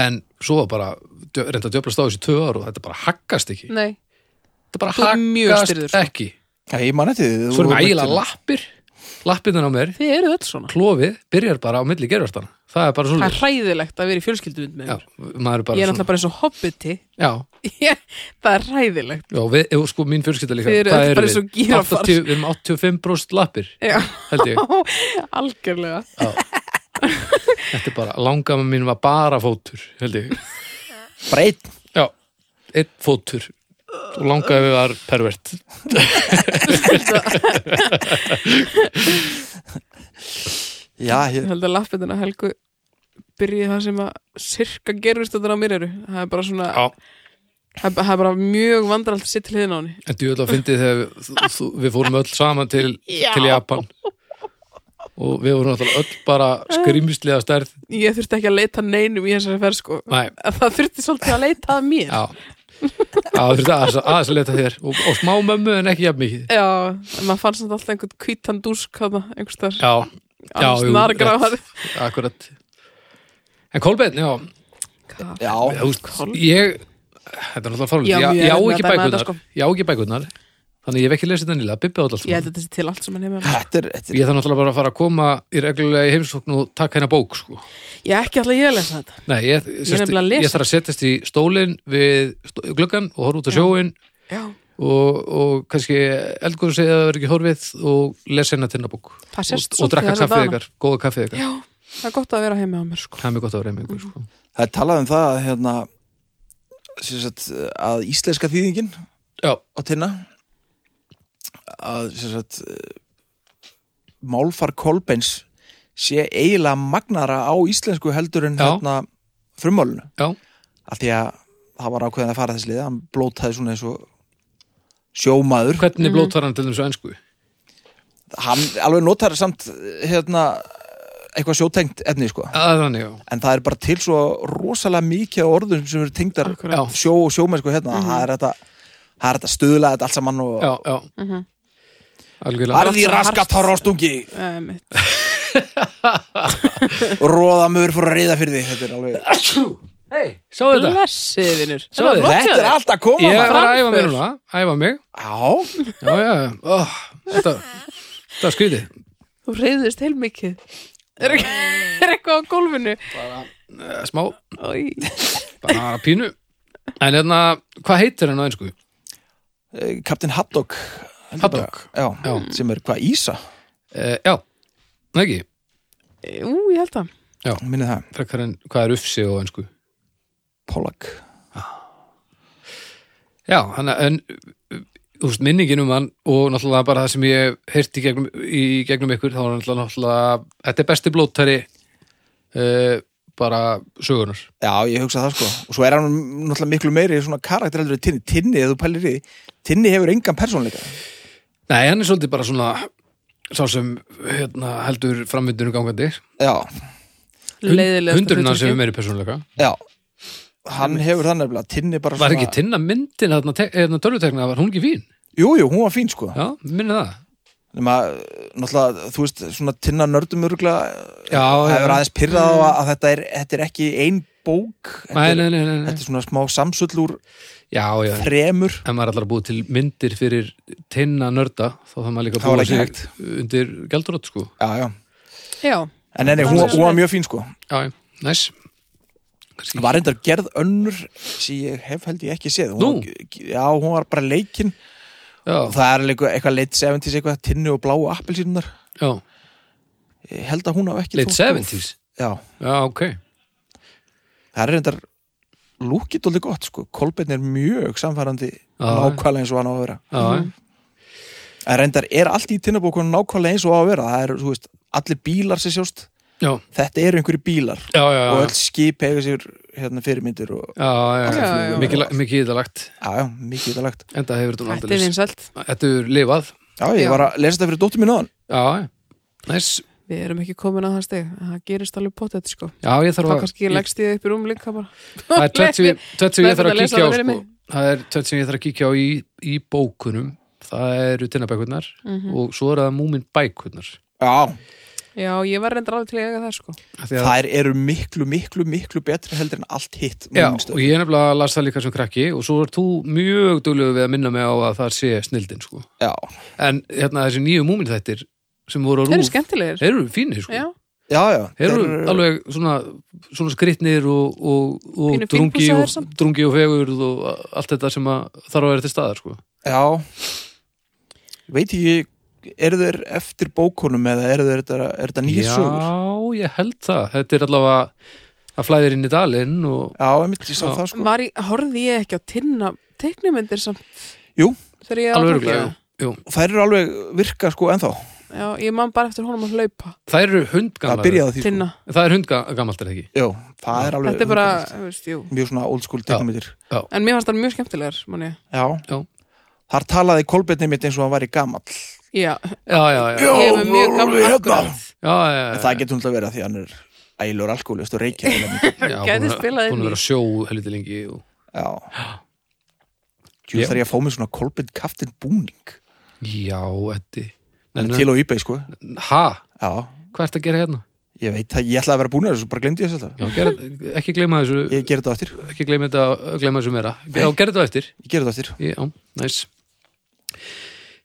en svo var bara djö- reynda að djöflast á þessi tvö ár og þetta bara haggast ekki Nei, þetta bara Þú ert mjög haggast stirður, sko. ekki Nei, ég man eftir því þú svo erum voru ægilega mættur. lappir lappirna á mér, þið eru öll svona klofið byrjar bara á milli gerfartana það er bara Það svona er hræðilegt að vera í fjölskylduvund með Já, þér maður er bara Ég svona er náttúrulega bara eins og hobbiti (laughs) Já, Ég- Það er hræðilegt Já, við, ef- sko, mín fjölskylda líka, Þið eru hvað öll eru bara eins og við? gíraffar. 80, við erum 85 bróst lappir, Já, held ég. (laughs) algjörlega Já. Þetta er bara, langama mín var bara fótur, held ég. Bara einn Já, einn fótur og langaði við var pervert já, ég, Ég held að lappindina helgu byrjið það sem að sirka gerfist þetta á mér eru. Það er bara svona, Já. það, það er bara mjög vandralt að sitt til hliðin á henni. en djúvel að fyndið þegar við, þú- þú- við fórum öll saman til, til Japan og við vorum náttúrulega öll bara skrýmislega stærð Ég þurfti ekki að leita neinum í þessari ferð sko. Nei, En Það þurfti svolítið að leita að mér. já Já, þú þurfti aðeins aðeins að leta þér og, og smá mömmu en ekki jafn mikið Já, en maður fann samt alltaf einhvern kvítan dúsk hana, einhvers þar, Já, já, jú, snargráðar. akkurat En Kolbeinn, já, já, þú veist, ég Þetta er náttúrulega fórlítið, Já, ég, mjög ég á erfitt ekki með að dæma bækurnar þetta, sko. Ég á ekki bækurnar Þannig ég hef ekki lesið þetta nýlega, Bibbi á alltaf Ég held að þetta sé til allt sem hann hefur. þetta er, þetta er Ég þarf náttúrulega bara að fara að koma í reglulega í heimsókn og taka hennar bók sko. Ég ekki alltaf ég að lesa þetta. Nei, ég, sest, nefnilega að lesa. ég þarf að setjast í stólinn við stó gluggan og horfa út á sjóin Já, og, og kannski eldgóðu segja að það verður ekki horfið og lesa hennar tennar bók það og, sést og drakka þessa kaffið dagana. ykkar, góða kaffið ykkar Já, það er gott að vera heima á mér sko. Það er mjög gott að vera með ykkur sko. Það er talað um það að, hérna, sem sagt, að íslenska þýðingin Já, á tinna að sem sagt, eh, málfar Kolbeins sé eiginlega magnara á íslensku heldur en Já. hérna, frumálinu já, af því að það var ákveðin að fara þess lið hann blótaði svona eins og sjómaður hvernig blótvar hann til þessu ennsku? hann alveg notar samt hérna, eitthvað sjótengt efni sko. Að þannig, já, en það er bara til svo rosalega mikið af orðum sem eru tengdar Akkurat. Já. sjó og sjómennsku hérna það er þetta það er þetta stuðla þetta allt saman og já, já Algjörlega Arði raskat á rástungi Um, og róðamur fór að reyða fyrir því þetta er alveg Hei, sá þetta? Blessið, vinnur. Sjáðu, þetta er allt að koma Ég maður. var að æfa mig Framför. núna, æfa mig já, Já, já, já, Ó, þetta, þetta er skrítið Þú reyðist heilmikið. Er, er eitthvað á gólfinu? Eh, Smá, Í, bara pínu En hérna, hvað heitir hann á ennsku? Eh, Captain Haddock heldur Haddock. bara. já, Já. sem er hvað Ísa Uh, já, Nei, ekki, ú, ég held að. minnið það frekar en hvað er ufsi á ennsku Pollack Já, hann en uh, þú veist, minningin um hann og náttúrulega bara það sem ég hef heyrt í gegnum, í gegnum ykkur, þá er hann náttúrulega- náttúrulega þetta er besti blóttari uh, bara sögunar já, ég hugsa það sko og svo er hann náttúrulega miklu meiri svona karakter heldur en Tinni Tinni, ef þú pælir í því, Tinni hefur engan persónleika Nei, hann er svolítið bara svona sá sem hérna, heldur framvindunum gangandi já, Leiðilegasta hundurinn hans hefur hlutverkið. meiri persónuleika já hann hefur þannig að Tinni bara Var ekki tinna myndin hérna, te- hérna tölvutekna, var hún ekki fín? jú, jú, hún var fín sko Já, minni það nema, náttúrulega, þú veist, svona tinna nördum örugla Já, það já. hefur aðeins pyrrað á að að þetta er, þetta er ekki ein bók þetta Nei, er, nei, nei, nei, nei. þetta er svona smá samsull úr Já, já, fremur ef maður allar búið til myndir fyrir tinna nörda þá þarf maður líka Það var að búið ekki sig hægt. undir gældurótt sko já, já. Já, en enni, hún, hún var mjög fín sko Já, já, næs Kannski- var reyndar gerð önnur sem ég hef held ég ekki séð Nú? hún, já, hún var bara leikin Já, og það er líka eitthvað late 70s eitthvað tinnu og bláu appelsínunar já, ég held að hún hafa ekki late þótt góð. 70s já, Já, ok það er reyndar lúkið dóldi gott sko, Kolbeinn er mjög samfærandi nákvæmlega eins og hann á að vera Já, mm. En reyndar er allt í tinnabókunum nákvæmlega eins og á að vera. Það er, þú veist, allir bílar sem sjást, já, þetta eru einhverju bílar já, já, já, og öll skip hefur sér hérna fyrirmyndir og já, já, Já, já, já. já. Mikið, la- mikið íðalagt já, já, mikið þetta lagt. Enda hefur þetta nú þetta er aldrei vinsælt. Þetta er lifað Já, ég Já. var að lesa þetta fyrir dóttur mín áðan. Já, já, næs Við erum ekki komin að það steg. Það gerist alveg potið, sko. Já, ég þarf Það að kannski ég- leggst ég upp í rúm líka bara. Það er tveit (laughs) sem, ég- tvennt sem ég Lesi- þarf að lesa kíkja á það fyrir sko. mig. Það er tveit sem ég þarf að kíkja á í, í bókunum Það eru tinnabækurnar Mhm. og svo eru það múmin bækurnar Já, Já, ég var reyndar alveg til að eiga það, sko. Það þær eru miklu, miklu, miklu betri heldur en allt hitt. Já, Múminstöð. og ég nefnilega las það líka sem krakki og svo er þú mjög duglegu við að minna mig á að það sé snildin sko. já, En hérna þessi nýju múminþættir sem voru á Þeir eru rúf, skemmtilegir. þeir eru fínir sko. Já, já, já. Þeir eru Þær alveg svona, svona skrittnir og, og, og Pínu drungi, fínpússaðir og samt. drungi og fegurð og allt þetta sem að þarf að vera til staðar sko. Já, veit ég, eru þeir eftir bókunum eða eru þeir þetta, er þetta nýja sögur? Já, ég held það. Þetta er allavega það flæðir inn í dalinn og Já, einmitt, ég sá Já. það sko Var ég, horfði ég ekki á tinna teiknumyndir samt? Jú. Þegar ég alveg áfram- örgulega Og Þær eru alveg virka sko ennþá Já, ég man bara eftir honum að hlaupa það eru Það hundgamlar byrjaði á því sko tinna. það er hundgamalt er það ekki Jú, það er alveg Þetta er bara, undarlegt. þú veist, jú. Mjög svona old school teknumitir En mér fannst það mjög skemmtilegar, manni. Já. Já. Þar talaði kolbeinni mitt eins og hann væri gamall Já, já, já, já, já, hérna. Já, ég hef mjög nú gaman erum við akkurat. já, já. En það getur hundlega verið að því hann er ælur alkoholist og reykir heila (laughs) mikið. Já, Gæti búin að- spilað inn búin í. að vera sjó helviti lengi og... Já Jú, Já. þarf ég að fá mér svona kolbeinn kaftin búning já, Eddi Hann er til á eBay sko ha, Já, hvað ertu að gera hérna? ég veit það, ég ætlaði að vera búin að þessu, bara glemdi ég þessu alltaf Já, gera, ekki gleyma þessu Ég gerði þetta á eftir, ekki gleyma, þetta, gleyma þessu meira já, gerðu þetta á eftir ég gerði þetta á eftir já, næs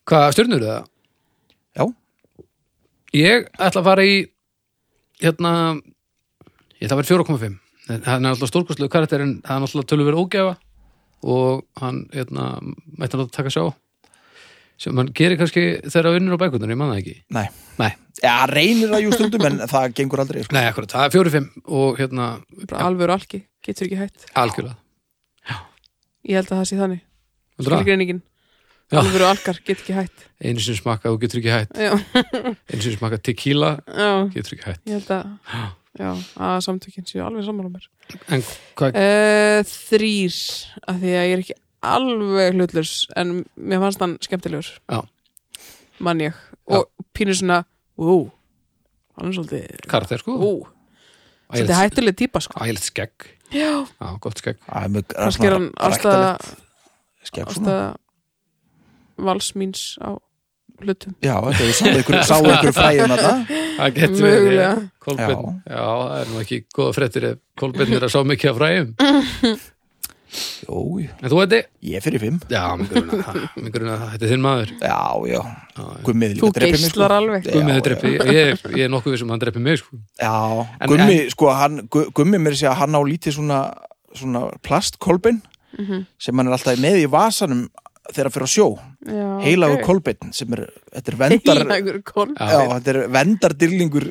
hvað stjörnur eru það? Já, ég ætla að fara í hérna ég ætla að vera 4,5 En hann er alltaf stórkostlega karakter en hann er alltaf tölverið ógefa og hann hérna mætti hann að taka sjá sem hann gerir kannski þegar hann vinnur á bækundunum, ég man það ekki nei Nei. Já, reynir það jú stundum en það gengur aldrei sko. Nei, akkurat, það er 4,5 og hérna bara alvöru alki, getur ekki hætt. algjörlega Ég held að það sé þannig. Heldurðu það? Skilgreiningin. Já. Alvöru alkar, getur ekki hætt. einu sinni smakka og getur ekki hætt Já, einu sinni smakka tequila, já, getur ekki hætt ég held að, já, að samtökinn séu alveg sammála mér. en hvað, Uh, þrýr, af því að ég er ekki alveg hlutlurs, en mér fannst hann skemmtilegur. Já. Mann ég. Og pínu svona, ú, hann er svolítið, karakter sko ú, svolítið ægilegt hættuleg típa, sko. ægilegt skegg, Já, já, gott skegg Æ, mjög, kannski er hann ástæða, Skegg svona ástæða vals míns á hlutum. Já, þetta er sáðu ykkur, sáðu ykkur fræðum að það það getur verið Mögulega. Kolbeinn, já. það er nú ekki góða fréttir ef Kolbeinn er að sá mikið af fræðum Jú, jú. en þú veitir, ég er fyrir fimm já, mig gruna það (laughs) mig gruna það, þetta er þinn maður Já, já, já, já. gummið Þú geislar alveg. Gummið sko. Já, er dreppi, ég, ég er nokkuð vissum að hann dreppi mig sko. Já, En- gummi, sko, hann, Gu- gummi mér sé að hann á lítið svona, svona plastkolbin sem hann er alltaf með í vasanum þegar hann fyrir á sjó, Já, heilagur ok. okay. kolbin sem er, þetta er vendar Heilagur kól, já, já, já, þetta er vendardýrlingur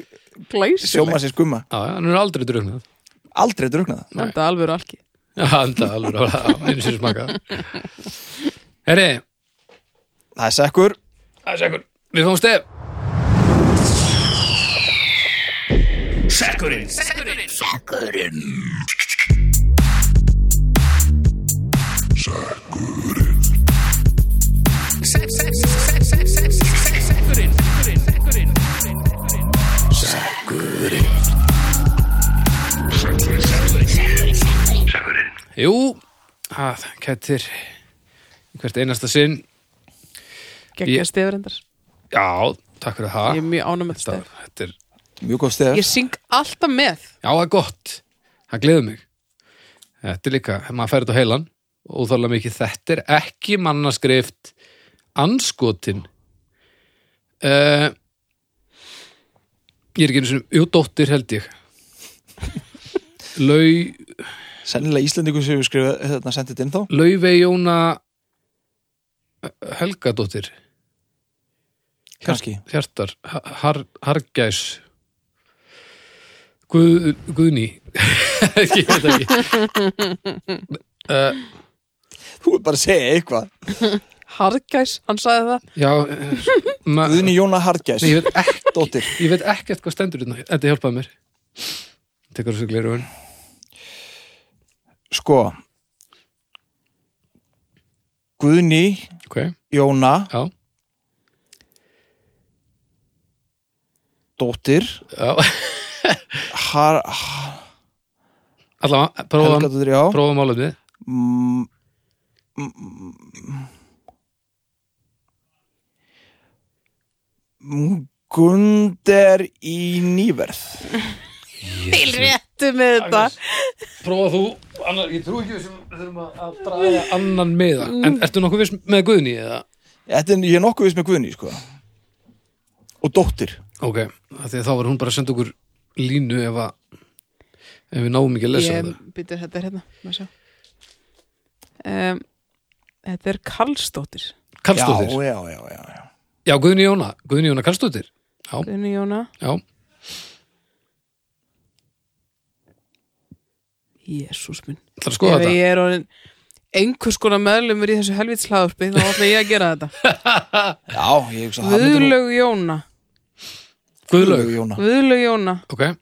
glæsileg. sjómasins gumma, já, hann er aldrei druknað aldrei druknað það. Þetta er alveg alki. Já, anda alveg á á einu sér smaka Herri, Það er sekkur, það er sekkur Við fáum stef Jú, það kættir í hvert einasta sinn Gekkja Ég- stefurendar. Já, takk fyrir það Ég er mjög ánum með Þetta, stefur. þetta er, mjög góð stef Ég syng alltaf með. já, það er gott Það gleður mig Þetta er líka, maður færi þetta á heilan Óþálega mikið, þetta er ekki mannaskrift Anskotin uh, Ég er ekki einu sinni Jú, dóttir held ég Lau sennilega Íslendingum sem við skrifa þetta sendið þetta inn þá Laufey Jóna eh, Helgadóttir Kannski. Hjartar, har, Hargæs Guð, Guðni (laughs) Ég veit það ekki uh, þú er bara að segja eitthvað Hargæs, hann sagði það. Já eh, ma, Guðni Jóna Hargæs, Nei, ég, veit ekki, dóttir ég veit ekkert hvað stendur hérna Þetta hjálpaði mér Tekur þessu glerugun sko Guðni Ok, Jóna já, dóttir já Har, Allavega, prófa, Helgadóttir, já prófa málefnið Mm, mm, mm. Mm, Gunder í nýverð Til réttu með þetta. Prófa þú, annar, ég trú ekki við sem þurfum að- að draga annan meða Mm. En ertu nokkuð viss með Guðni eða? Þetta er, ég er nokkuð viss með Guðni sko. og dóttir Ok, af því að þá var hún bara að senda okkur línu ef, að, ef við náum ekki að lesa Ég byrju þetta er hérna. Má sjá. Um, þetta er Karlsdóttir. það Karlsdóttir, já, já, já, já, já, já. Guðni Jóna Guðni Jóna Karlsdóttir, Guðni Jóna. já Jésús minn Það er að skoða Ef þetta ég er orðin einhers konar meðlumur í þessu helvits hlaðurpi þá ætla ég að gera (laughs) þetta Já, ég hugsa að það myndi nú- Guðlaug Jóna Guðlaug, Jóna Guðlaug Jóna ok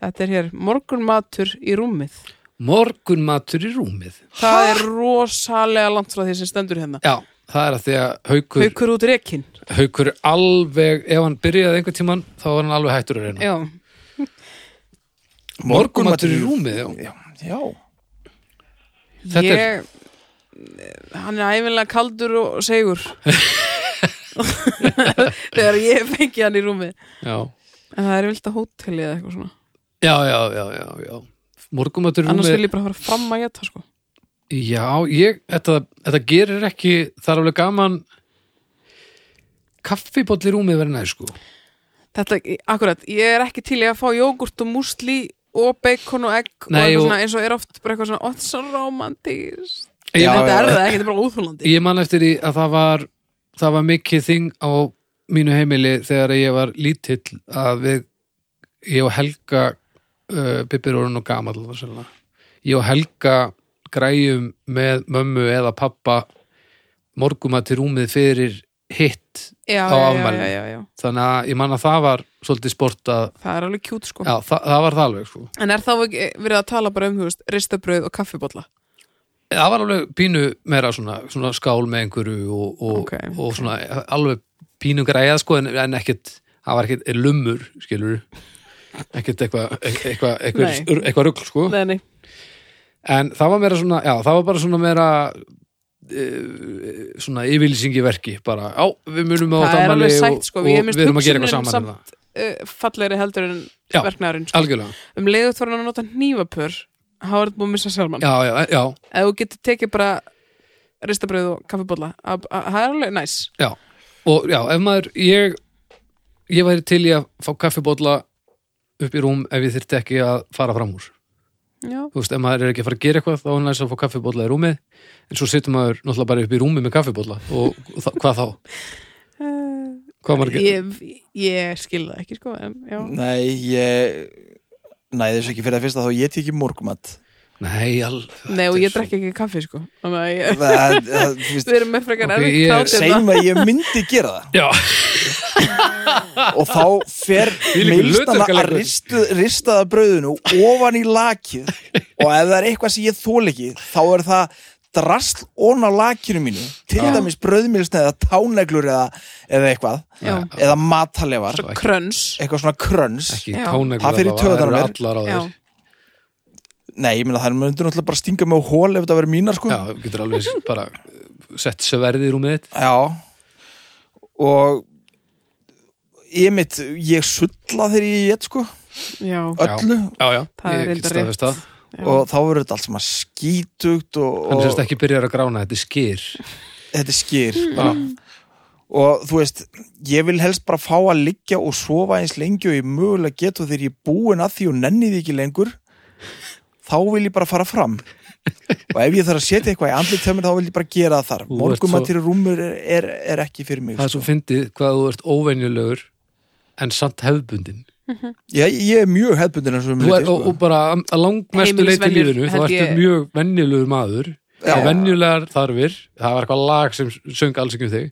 Þetta er hér, morgunmatur í rúmið Morgunmatur í rúmið Það er rosalega langt frá því sem stendur hérna Já, það er að því að haukur, Haukur út rekin haukur alveg ef hann byrjaði einhvern tíman þá var hann alveg hættur að reyna Já, Morgunmatur í rúmið, já Já, já. Þetta ég er- Hann er æfinlega kaldur og (laughs) segur Þegar ég fengi hann í rúmið Já, En það er vilt að hóteli eða eitthvað svona já, já, já, já, já. Morgunmatur í Annars rúmið vil ég bara fara fram að geta sko Já, ég, þetta, þetta gerir ekki það er alveg gaman kaffiboll í rúmið verið næri sko Þetta, akkurat, ég er ekki til í að fá jógurt og músli og bacon og egg og Nei, eitthvað og- svona, eins og er oft bara eitthvað svona, ó, þetta er svo romantís Ég Já, man- Þetta já, já. er það ekki, þetta er bara óþúlandi Ég man eftir því að það var það var mikið þing á mínu heimili þegar ég var lítill að við, ég og Helga uh, Bibbir orðin og gamall var sérna. ég og Helga græjum með mömmu eða pappa morguma til rúmið fyrir hitt Já, á já, já, afmælinu. já, já, já, þannig að ég man að það var svolítið sport að, það er alveg kjút sko já, það, það var það alveg sko En er þá ekki verið að tala bara um, þú veist, ristabröð og kaffibólla? það var alveg pínu meira svona, svona skál með einhverju og, og, Ok, og svona alveg pínu græða sko en, en ekkit, það var ekkit lumur skilur ekkit eitthvað eitthva, eitthva, Nei. eitthva rugl sko Nei, nei, en það var meira svona, já það var bara svona meira e, svona yfirlýsingi verki bara, já við munum á Það er afmæli alveg og- sætt, sko, og ég við minnst erum að gera eitthvað hugsunin saman um samt- það. uh, fallegri heldur en Já. verknarinn sko. algjörlega, Um leiðut var hann að nota hnífapör þá er þetta búið að missa sjálfmann já, já, já, Ef þú getur tekið bara ristabröð og kaffibólla að- að- það er alveg næs Já, og já, ef maður ég, ég væri til í að fá kaffibólla upp í rúm ef ég þyrfti ekki að fara fram úr Já, þú veist, ef maður er ekki að fara að gera eitthvað þá er næst að fá kaffibólla í rúmi en svo situr maður náttúrulega bara upp í rúmi með kaffibólla og, og þa- hvað þá? Hvað maður getur? ég, ég skil það ekki sko en, já. Nei, ég Nei, þessu ekki fyrir að fyrsta þá ég tek í morgumat Nei, all, Nei, og ég drekki ekki kaffi sko Þannig að ég, (laughs) Það, það, þú veist Við erum með frekar Ok, okay, ég- erfitt hérna. Segjum krátið að ég myndi gera það Já, og þá fer Þvílíkur meilstana að hlutverkaleikur. ristu, ristaða brauðinu ofan í lakið og ef það er eitthvað sem ég þól ekki þá er það drasl ón á lakinu mínu til Já. dæmis brauðmilsna eða táneglur eða, eða eitthvað Já. eða matalefar, Svo- Kröns eitthvað svona kröns ekki Já. tóneglu Það fer í allavega, taugarnar á það mér. eru allar á Já. þér nei, ég meina það er myndur náttúrulega bara stinga mig á hól ef það verður mínar sko Já, þú getur alveg (laughs) bara sett sverði í rúmið þitt Já og ég mitt, ég sulla þegar ég get sko, Já, öllu Já, já, Það er ég reyndar get staðfest rétt. það já. og þá verður þetta allt sem að skítugt og, Hann sérst og ekki byrjar að grána, þetta er skýr þetta er skýr Mm. bara. og þú veist ég vil helst bara fá að liggja og sofa eins lengi og ég mögulega get og þegar ég er búin að því og nenni því ekki lengur þá vil ég bara fara fram og ef ég þarf að setja eitthvað í andlið tömur þá vil ég bara gera það þar Þú ert morgumatir í rúmur er, er, er ekki fyrir mig það er sko. svo fyndið hvað þú ert óvenjulegur en samt hefðbundin ég, ég er mjög hefbundin eins og um Þú er, liti, og, og bara að- að langmestu leyti í Heimilisvenjur, lífinu þá held ertu ég. mjög venjulegur maður Já. og venjulegar þarfir það var eitthvað lag sem söng alls ekki um þig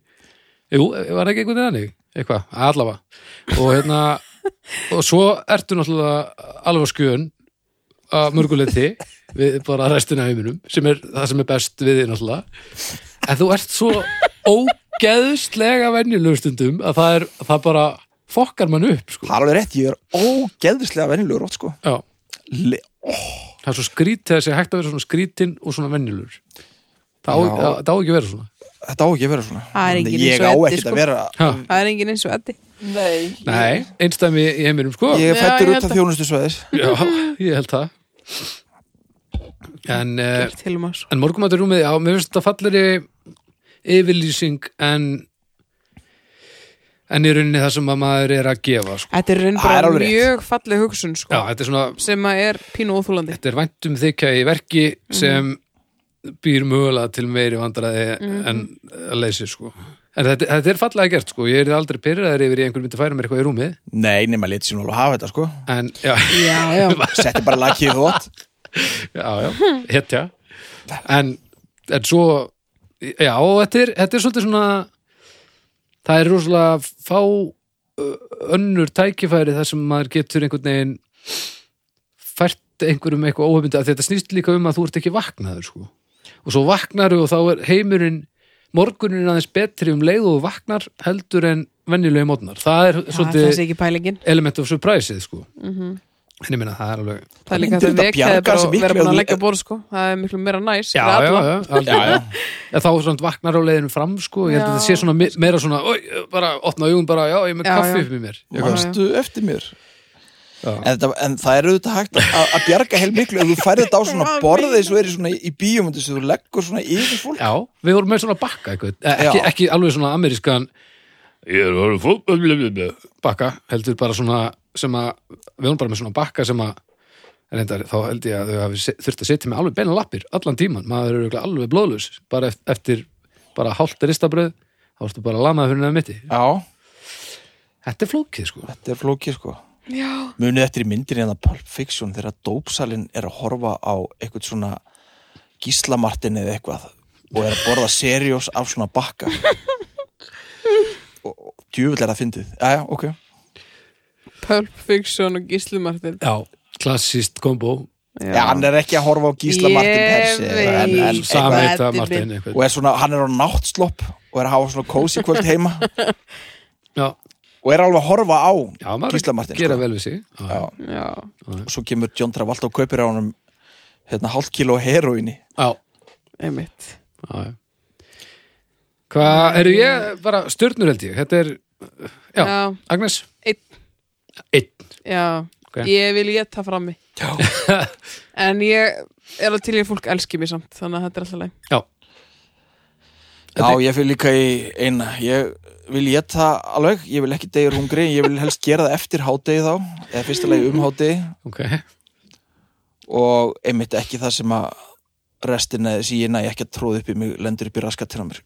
jú, var það ekki einhvern veginn þannig eitthvað, allavega og hérna, (laughs) og svo ertu náttúrulega alveg á skjön að mörguleiti við bara restina af heiminum sem er það sem er best við þig náttúrulega en þú ert svo ógeðslega venjulegur stundum að það er, það bara fokkar mann upp sko. Það er alveg rétt, ég er ógeðislega venjulegur ótt sko Já, Le það er svo skrítið þessi hægt að vera svona skrítinn og svona venjulegur það á, Já. það, það á ekki að vera svona Þetta á ekki að vera svona Það er engin eins Ég á og Eddi, ekkert sko. að vera ha, Það er engin eins og Eddi Nei, Nei, einstæmi í heiminum sko Ég er Já, fættur ég út af held að- þjónustu sveðis Já, ég held það En, uh, Gert til um að svo en morgumatur rúmið Já, mér finnst þetta falleri yfirlýsing en en í rauninni það sem að maður er að gefa sko. Þetta er raun Það er bara alveg rétt. mjög falleg hugsun Já, sko, þetta er svona sem að er pínu óþúlandi þetta er væntum þykja í verki sem býr mögulega til meiri vandræði en að leysi sko. En þetta, þetta er fallega gert sko, ég er aldrei pyrraður yfir í einhver myndi færa mér eitthvað í rúmið Nei, nema lítið sem alveg hafa þetta sko en já, (laughs) Já, já, (laughs) Setti bara lakið í þvott já, já, hetja en, en svo já, og þetta er, þetta er svolítið svona það er rosalega fá ö, önnur tækifæri þar sem maður getur einhvern veginn fært einhverjum eitthvað óhefndi að þetta snýst líka um að þú ert ekki vaknaður sko. og svo vaknaru og þá er heimurinn morgunin aðeins betri um leið og þú vaknar heldur en venjulegi mótnar það er það svolítið sé ekki pælingin element of surprise sko. en ég meina það er alveg það er líka Myndir þetta þetta vekja bjarga þig bara þessu og vera miklu búin að að- leggja borð sko það er miklu meira næs fyrir já, já, alla. já, algjörlega. En þá svona vaknar á leiðinu fram sko, ég held að Já. það sé svona me- meira svona oj, bara opna augun bara, já, ég er með Já, kaffi já. upp í mér Já. Eitthvað. Manstu eftir mér Já. en, þetta, en það er auðvitað hægt að, að bjarga heil miklu ef þú færði þetta á svona borðið svo er í svona í bíómyndi sem þú leggur svona yfir fólk já, við vorum með svona bakka eitthvað, Eh, ekki, Já. ekki alveg svona amerískan ég er orðið fótball bakka, heldur bara svona sem að, við vorum bara með svona bakka sem að reyndar, þá held ég að þau hafi se- þurft að setja með alveg beina lappir allan tíman, maður eru örugglega alveg blóðlaus bara eft- eftir bara hálft ristabröð þá ertu bara lamaði fyrir neða mitti Já, þetta er flókið sko þetta er flókið sko já, munið eftir í myndir en að Pulp Fiction þegar dópsalinn er að horfa á eitthvað svona gíslamartin eða eitthvað og er að borða seriós af svona (laughs) bakka og og djöfull er það fyndið Jæja, ok Pulp Fiction og Gísli Martin já, klassist kombo Já, hann er ekki að horfa á gíslamartin Ég persi en, veit. en, Sam- eitthvað- Samheita Eddi Martin minn. og er svona, hann er á náttslopp og er að hafa svona kósi kvöld heima Já, og er alveg að horfa á já maður Gísla Martin gera sko. vel við sig Já, Já, já, og svo kemur John Travolta og kaupir á honum hérna hálft kíló heroinni já, einmitt já, já. Hvað, eru ég bara stjörnur held ég Þetta er, já, Já. Agnes Einn. Einn, Já, Ok. ég vil ég ta frammi Já. En ég er að til ég fólk elski mér samt Þannig að þetta er alltaf leið já Já, ég fyrir líka í eina ég vil ég það alveg, ég vil ekki degir hungri ég vil helst gera það eftir hádegi þá eða fyrsta lagi um hádegi Ok, (laughs) og einmitt ekki það sem að restina þessi ég næ ekki að tróða upp í mig lendur upp í raskatina á mér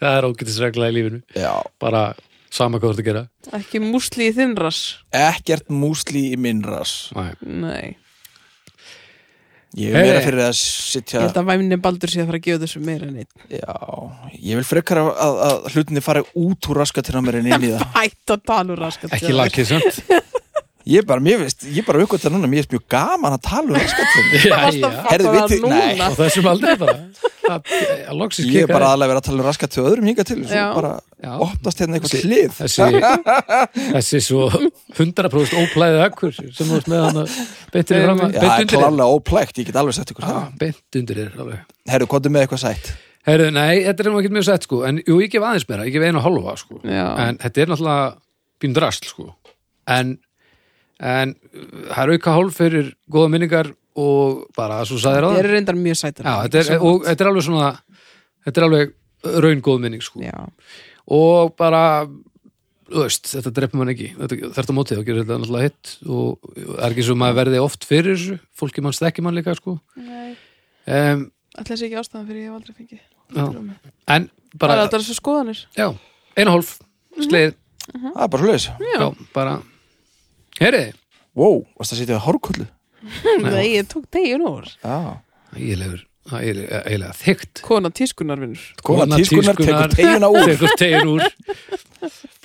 það er ógætisregla í lífinu Já, Bara sama hvað þú ert að gera Ekki músli í þinnras ekkert músli í minn ras Næ. Nei, Ég er Hey. meira fyrir að ég sitja held að væmni baldur sé að fara að gefa þessu meira en einn Já, ég vil frekar að, að, að hlutinni fari út úr raskatina á mér en inn í (laughs) það Hætt að tala úr raskat Ekki lakið samt Ég bara, mér veist, ég bara aukvöld það núna, mér veist mjög gaman að tala um raskatina Já, Það varst já að Heyrðu, fatta það vitið- núna nei. Á þessum aldrei bara Það að loksins Ég er bara kikkaði. aðlega verið að tala um raskat til öðrum hinga til, svo Já. bara Já. opnast hérna eitthvað hlið (laughs) Þessi, þessi svo 100% óplæðið akkur sem þú veist með hann að beint Nei, fram að- Já, beint það er undir Ah. þér. klálega óplægt, ég get alveg sagt ykkur það Já, beint undir þér alveg Herru, komdu með eitthvað sætt Heyrðu, nei, þetta er nú ekkert mjög sett sko en jú, ég gef aðeins meira, ég gef einu og hálfa sko Já. en þetta er náttúrulega býnum drast sko en, en uh, það er auka hálf fyrir góða minningar og bara svo sagðir á Þeir það eru reyndar mjög sætar Já, þetta er, og þetta er alveg svona þetta er alveg raun góð minning sko Já, og bara þú veist, þetta drepa mann ekki þetta, þetta mótið og gerir þetta náttúrulega hitt og er ekki svo maður verði oft fyrir þessu fólki mann stekki mann líka sko um, ætla þessi ekki ástæðan fyrir ég hef aldrei fengið já. Bara, en bara bara, þetta er svo skoðanir já, einu og hálf Mhm, sleið Það er bara hljóðis Já, bara Heyriði, Wow, varst það að sitja á hárkullu? Nei, ég tók degin úr Já ægilegur ægilega, ægilega þygt Kona tískunarvinnur Kona tískunar tekur teguna (laughs) úr tekur tegin úr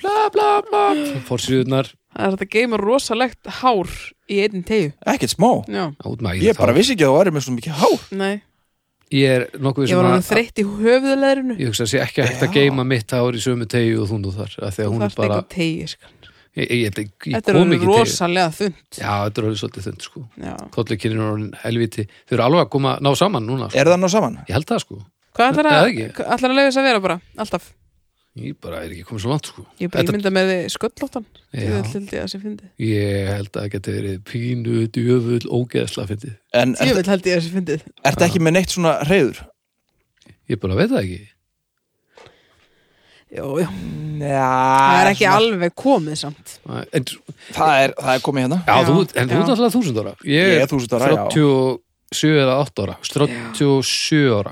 bla bla bla fórsýðunar, Það er þetta geima rosalegt hár í einn tegu Ekkert smá Já, útmægir Ég bara vissi ekki að þú væri með svona mikið hár nei Ég er nokkuð Ég sem var að alveg þreytt í höfuðleðrinu Ég hugsa að sé ekki hægt að Já. geima mitt hár í sömu tegu og þundu þar af því að hún Það er er bara eitthvað tegi skan. ég, ég, ég, ég, ég sko. Þetta er kom orðið ekki tegi Já, rosalega þund þetta er alveg svolítið þund sko Já. Kollekinnir og helviti Þau eru alveg að koma ná saman núna sko. Er það ná saman? Ég held það sko Hvað ætlar Nei, að, það ekki. hvað ætlar að leiða þess að vera bara? Alltaf Ég bara er ekki komið svo langt sko Ég er bara Þetta- ímynda með þið sköllóttan Ég Já. held að það sé fyndið Ég held að það geti verið pínu, djöfull, ógeðsla fyndið. En Ég ertu vil held ég að það sé fyndið ert ekki með neitt svona reyður? Ég bara veit það ekki. Jó, já Já, Það er ekki alveg komið samt En, já, það er, það er komið hérna Já, þú, en þú já. ert alltaf þúsund ára. Ég er þúsund ára, já. 37 eða 8 ára. 37 ára.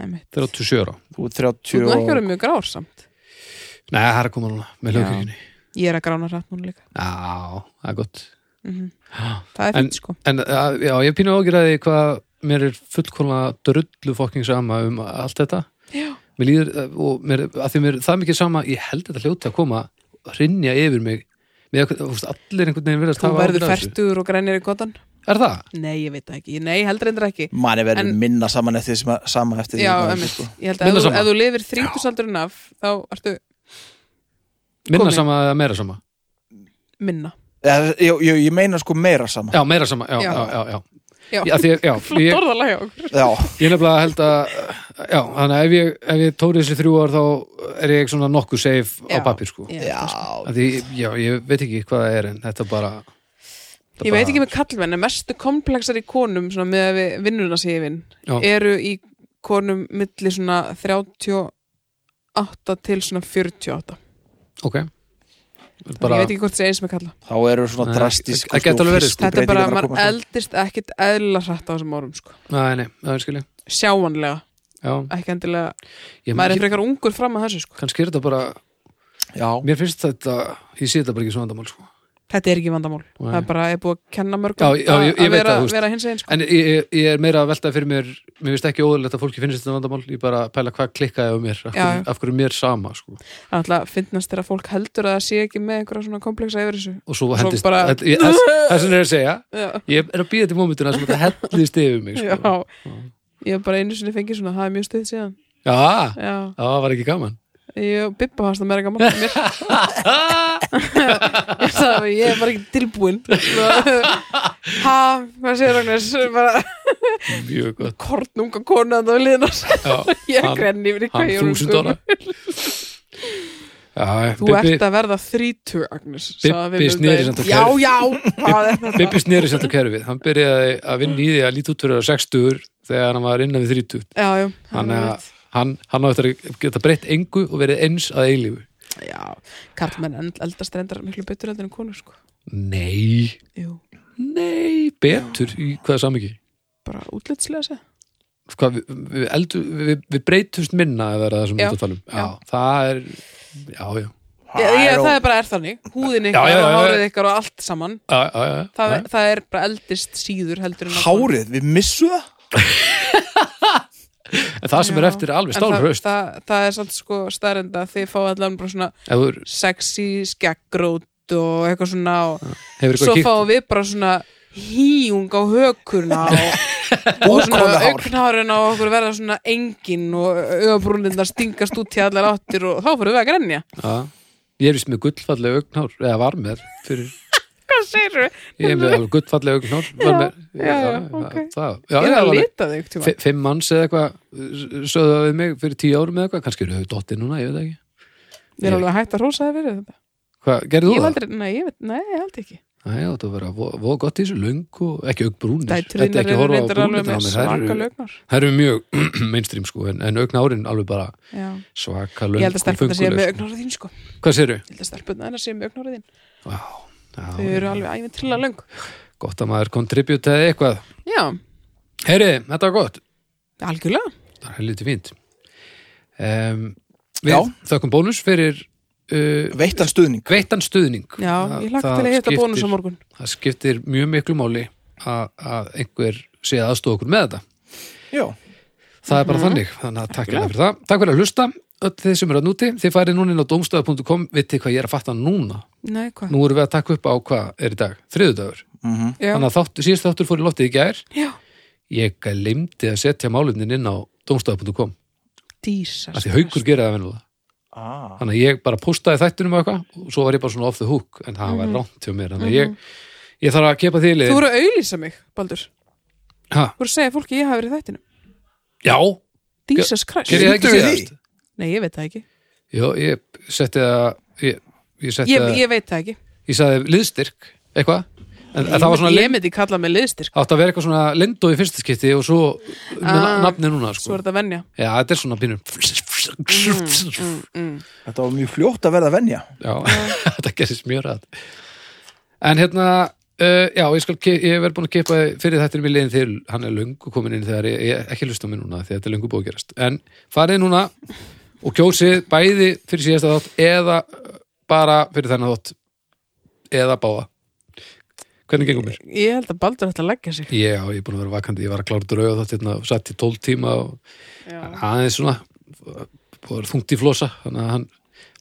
Nei, mitt. 37 ára. Þú er Þú 30 er ekki og... orðið mjög grár samt Nei, það er að koma núna með Já. hljóðkirkjunni. Ég er að grána hrætt núna líka Já, það er gott. Mhm. Já. Það er En- fint sko En að, já, ég pínu ágjur að því hvað mér er fullkona drullu fokking sama um allt þetta. Já. Mér líður, eh, og mér, að því mér er það mikið sama, ég held þetta hljóti að koma hrinja yfir mig. Mér, fúst, allir einhvern veginn vilja að Þú tafa verður færtur og grænir í gotan Er það? Nei, ég veit það ekki, nei, heldur endur ekki manni verður En- minna saman eftir því sem að, sama eftir því Já, hvað er, emmitt, sko. ég held að Minna ef þú, sama. ef þú lifir þrítusaldurinn af þá ertu Minna Komin. sama eða meira sama? minna Eða, ég, ég, ég meina sko meira sama Já, meira sama, já, já, Já. já, já. Já, Já, því, já, flott ég, orðalega okkur já, ég nefnilega held að já, þannig að ef ég, ef ég tóri þessi þrjú ár þá er ég svona nokkuð safe á Já. pappir sko Ég, já. Af því, já, ég veit ekki hvað það er en þetta bara þetta ég veit ekki bara, með kallmenn en mestu komplexar í konum svona, með að við vinnuna sé ég vinn Já. eru í konum milli svona 38 til svona 48 ok bara, ég veit ekki hvort það er eins með kalla þá eru svona Nei, drastísk það gæti alveg verið, sko. þetta er bara, að maður koma sko. eldist ekkit eðlilega hrætt á þessum árum sko. Nei, nei, það er skilja sjáanlega, Já, ekki endilega ég, maður er ég, frekar ungur fram að þessu sko. kannski er þetta bara já, mér finnst þetta, ég sé þetta bara ekki svona vandamál sko. þetta er ekki vandamál Nei. það er bara, er búið að kenna mörgum Já, já, ég- ég að veit vera, það, þú veist. vera hins einn sko. en ég, ég- ég er meira að velta fyrir mér mér finnst ekki óðurlegt að fólki finnst þetta vandamál ég bara pæla hvað klikkaði á mér af Já, hverju, já. af hverju mér sama sko. alltaf finnast þegar fólk heldur að það sé ekki með einhverja svona komplexa yfir þessu og svo Svo hendist bara- þetta- ég- þess þess vegna er ég að segja já, ég er að býða til mómentuna sem þetta hellist yfir mig já. sko. ég hef bara einu sinni fengið svona, það er mjög stuð síðan já, já, já, það var ekki gaman ég og bippa hans það meira gaman en mér (laughs) ég sagði, ég er bara ekki tilbúin (laughs) ha, hvað segir Ragnars bara mjög gott kornunga konu að það við liðnar já, (laughs) ég Hann- grenni yfir sko. hvað hann ég er þúsund ungum. dólar já, þú ert Bibbi, að verða þrítug Agnes Bibbi sagði við um sneri daginn. samt á já, kerfið. já, hvað er þetta (laughs) Bibbi sneri samt á kerfið hann byrjaði að vinna í því að líta út fyrir að vera 60 þegar hann var innan við 30 já, já, hann, hann, hann á eftir að geta breytt engu og verið eins að eilífu já, karlmenn eld- eldast reyndar miklu betur heldur en konur sko nei, Jú, nei, betur í hvaða samiki bara útlitslega séð Hvað, við, við, eldu, við, við breytumst minna eða er það sem við Já, erum að tala um já, já. það er, já, já Já, ég, Hæró. það er bara er þannig, húðin Já, ykkar já, já, og já. hárið ykkar og allt saman Já, já, já, það, já. það er bara eldist síður heldur en að- hárið, við missu það en það sem er Já. eftir er alveg En það, stálhraust það, það er samt sko starrenda þið fá allan bara svona ef þú er- sexy skeggrót og eitthvað svona og hefur svo eitthvað kíkt fáum við bara svona híung á hökurna og, (laughs) og svona bókóluhár auknhárin á okkur verða svona engin og augabrúnirnar stingast út til allar áttir og þá fyrir við að grenja Já. Ég er vist með gullfallega augnhár eða var með fyrir, Hvað segir við? ég er með (laughs) alveg gullfallega augnhár var Já, með, já, já, það- ok. það, já, Ég já, er að alveg lita þig tíma fi- fimm manns eða eitthvað sögðu það við mig fyrir tíu árum eða eitthvað kannski eru þau dottið núna, ég veit það ekki Ég er alveg hægt að rósa þig fyrir þetta Hvað, gerðu Ég þú hef það? aldrei, nei, ég veit, nei, ég held ekki Nei, já, það verður að vo- voða gott í þessu löng og ekki augnbrúnir Dætur Þetta er ekki þínar að horfa á eru reyndar alveg brúnir með svaka lögnar Það eru mjög (clears throat) mainstream sko en, en augnárin alveg bara Já. svaka löng Ég held að og stelpunna séu fönguleg, með sko. augnárið þín sko Ég Hvað séru? held að stelpunna hennar séu með augnárið þín Vá, Þau já, eru alveg æfinn trilla löng gott að maður kontributaði eitthvað Já, Heyri, þetta var gott algjörlega Það er helviti fínt um, Við Já. þökkum bónus fyrir uh, veittan stuðning veittan stuðning Já, Það- ég lagt það til að hitta skiptir- bónus á morgun Það skiptir mjög miklu máli að, að einhver sé aðstofa okkur með þetta já, Það er Mhm. bara þannig, þannig að takk hérna fyrir það Takk fyrir að hlusta, öll þið sem eru að núti Þið farið núna inn á domstöða.com Vitið hvað ég er að fatta núna Nei, hvað? Nú erum við að taka upp á hvað er í dag, þriðudagur mhm Já, Þannig að þáttu, síðast þáttur fór í loftið í gær Já. Ég glemdi að setja málefnin inn á domstöða.com dísast Af því haukur gera það venjulega Ah. Þannig að ég bara postaði þættinum og eitthvað og svo var ég bara svona off the hook en það var rámt hjá mér Þannig að ég, ég þarf að kepa því Mhm. Þú liðin voru að auðlýsa mig, Baldur Þú Ha, voru að segja fólki að ég hafi verið í þættinum Já, Jesus Christ gerði ég það ekki Sýndu við síðast Nei, ég veit það ekki Jó, ég setti það Ég, ég setti Ég, það ég veit það ekki ég sagði liðstyrk eitthvað en, en Ég, það var svona myndi- ég lind, myndi kalla mig liðstyrk átti að vera eitthvað svona lindó í fyrsta skipti og svo með ah, Ah, nafni núna Svo sko. er þetta venja já, þetta er svona pínur mm. þetta var mjög fljótt að verða venja já, (laughs) þetta gerist mjög rætt en hérna uh, já, ég, skal, ke- ég verð búin að keipa fyrir þetta í liðin til hann er löngu komin inn þegar ég, ég ekki hlusta á mig núna því þetta er löngu búið að gerast en farið núna og kjósið bæði fyrir síðasta þátt eða uh, bara fyrir þennan þátt eða báða Hvernig gengum mér? Ég held að Baldur ætti að leggja sig Já, ég er búin að vera vakandi, ég var að klára drauga þátt hérna og satt í tól tíma og Já. aðeins svona búið að vera þungt í flosa, þannig að hann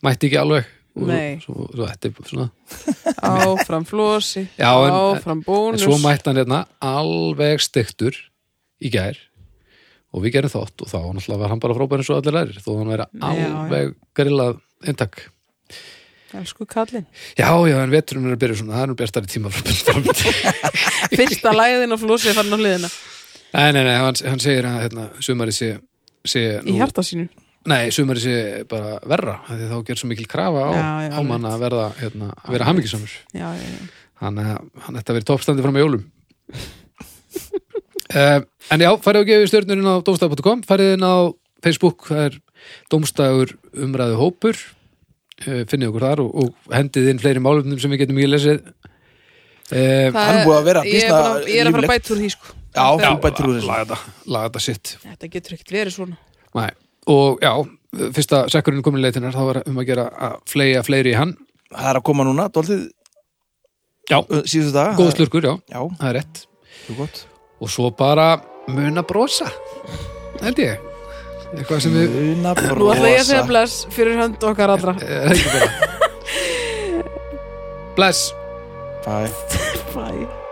mætti ekki alveg og svo- Nei. svo, svo, þetta er svona Áfram flosi, Já, en- áfram en bónus svo mætti hann hérna alveg stektur í gær og við gerum þátt og þá náttúrulega var hann bara frábær eins og allir lærir þó hann væri Já, já. alveg grillað eintak Elsku kallinn Já, já, en veturinn er að byrja svona, það er nú bestari tíma frá byrja (laughs) Fyrsta læðin og flósið fann á hliðina Nei, nei, nei, hann, hann segir að hérna, sumari sé, sé Í nú- hjarta sínu Nei, sumari sé bara verra af því þá gerð svo mikil krafa á, Já, já, á mann að verða, hérna, að vera hammingisamur Já, já, já hann, eh, hann ætti að vera í toppstandi fram í jólum (laughs) uh, En já, farið og gefið stjörnurinn á domstaf.com farið inn á Facebook, það er domstafur umræðu hópur uh, finnið okkur þar og, og hendið inn fleiri málumnum sem við getum ekki lesið uh, Það Hann er búið að vera Ég er, býsna búin að- ég er að fara að lífleg. bæta úr því sko Já, þú Þetta er- bættir úr þessu laga þetta, laga þetta sitt Þetta getur ekkert verið svona Nei. Og já, fyrsta sekkurinn komin leitinar þá var um að gera að fleia fleiri í hann Það er að koma núna, dóltið Já, síðustu daga góð slurkur, já, Já, það er rétt þú gott og svo bara mun að brosa held ég eitthvað sem (laughs) við Una Nú ætla ég að brosa segja bless fyrir hönd okkar allra er ekki bara bless Bye Bye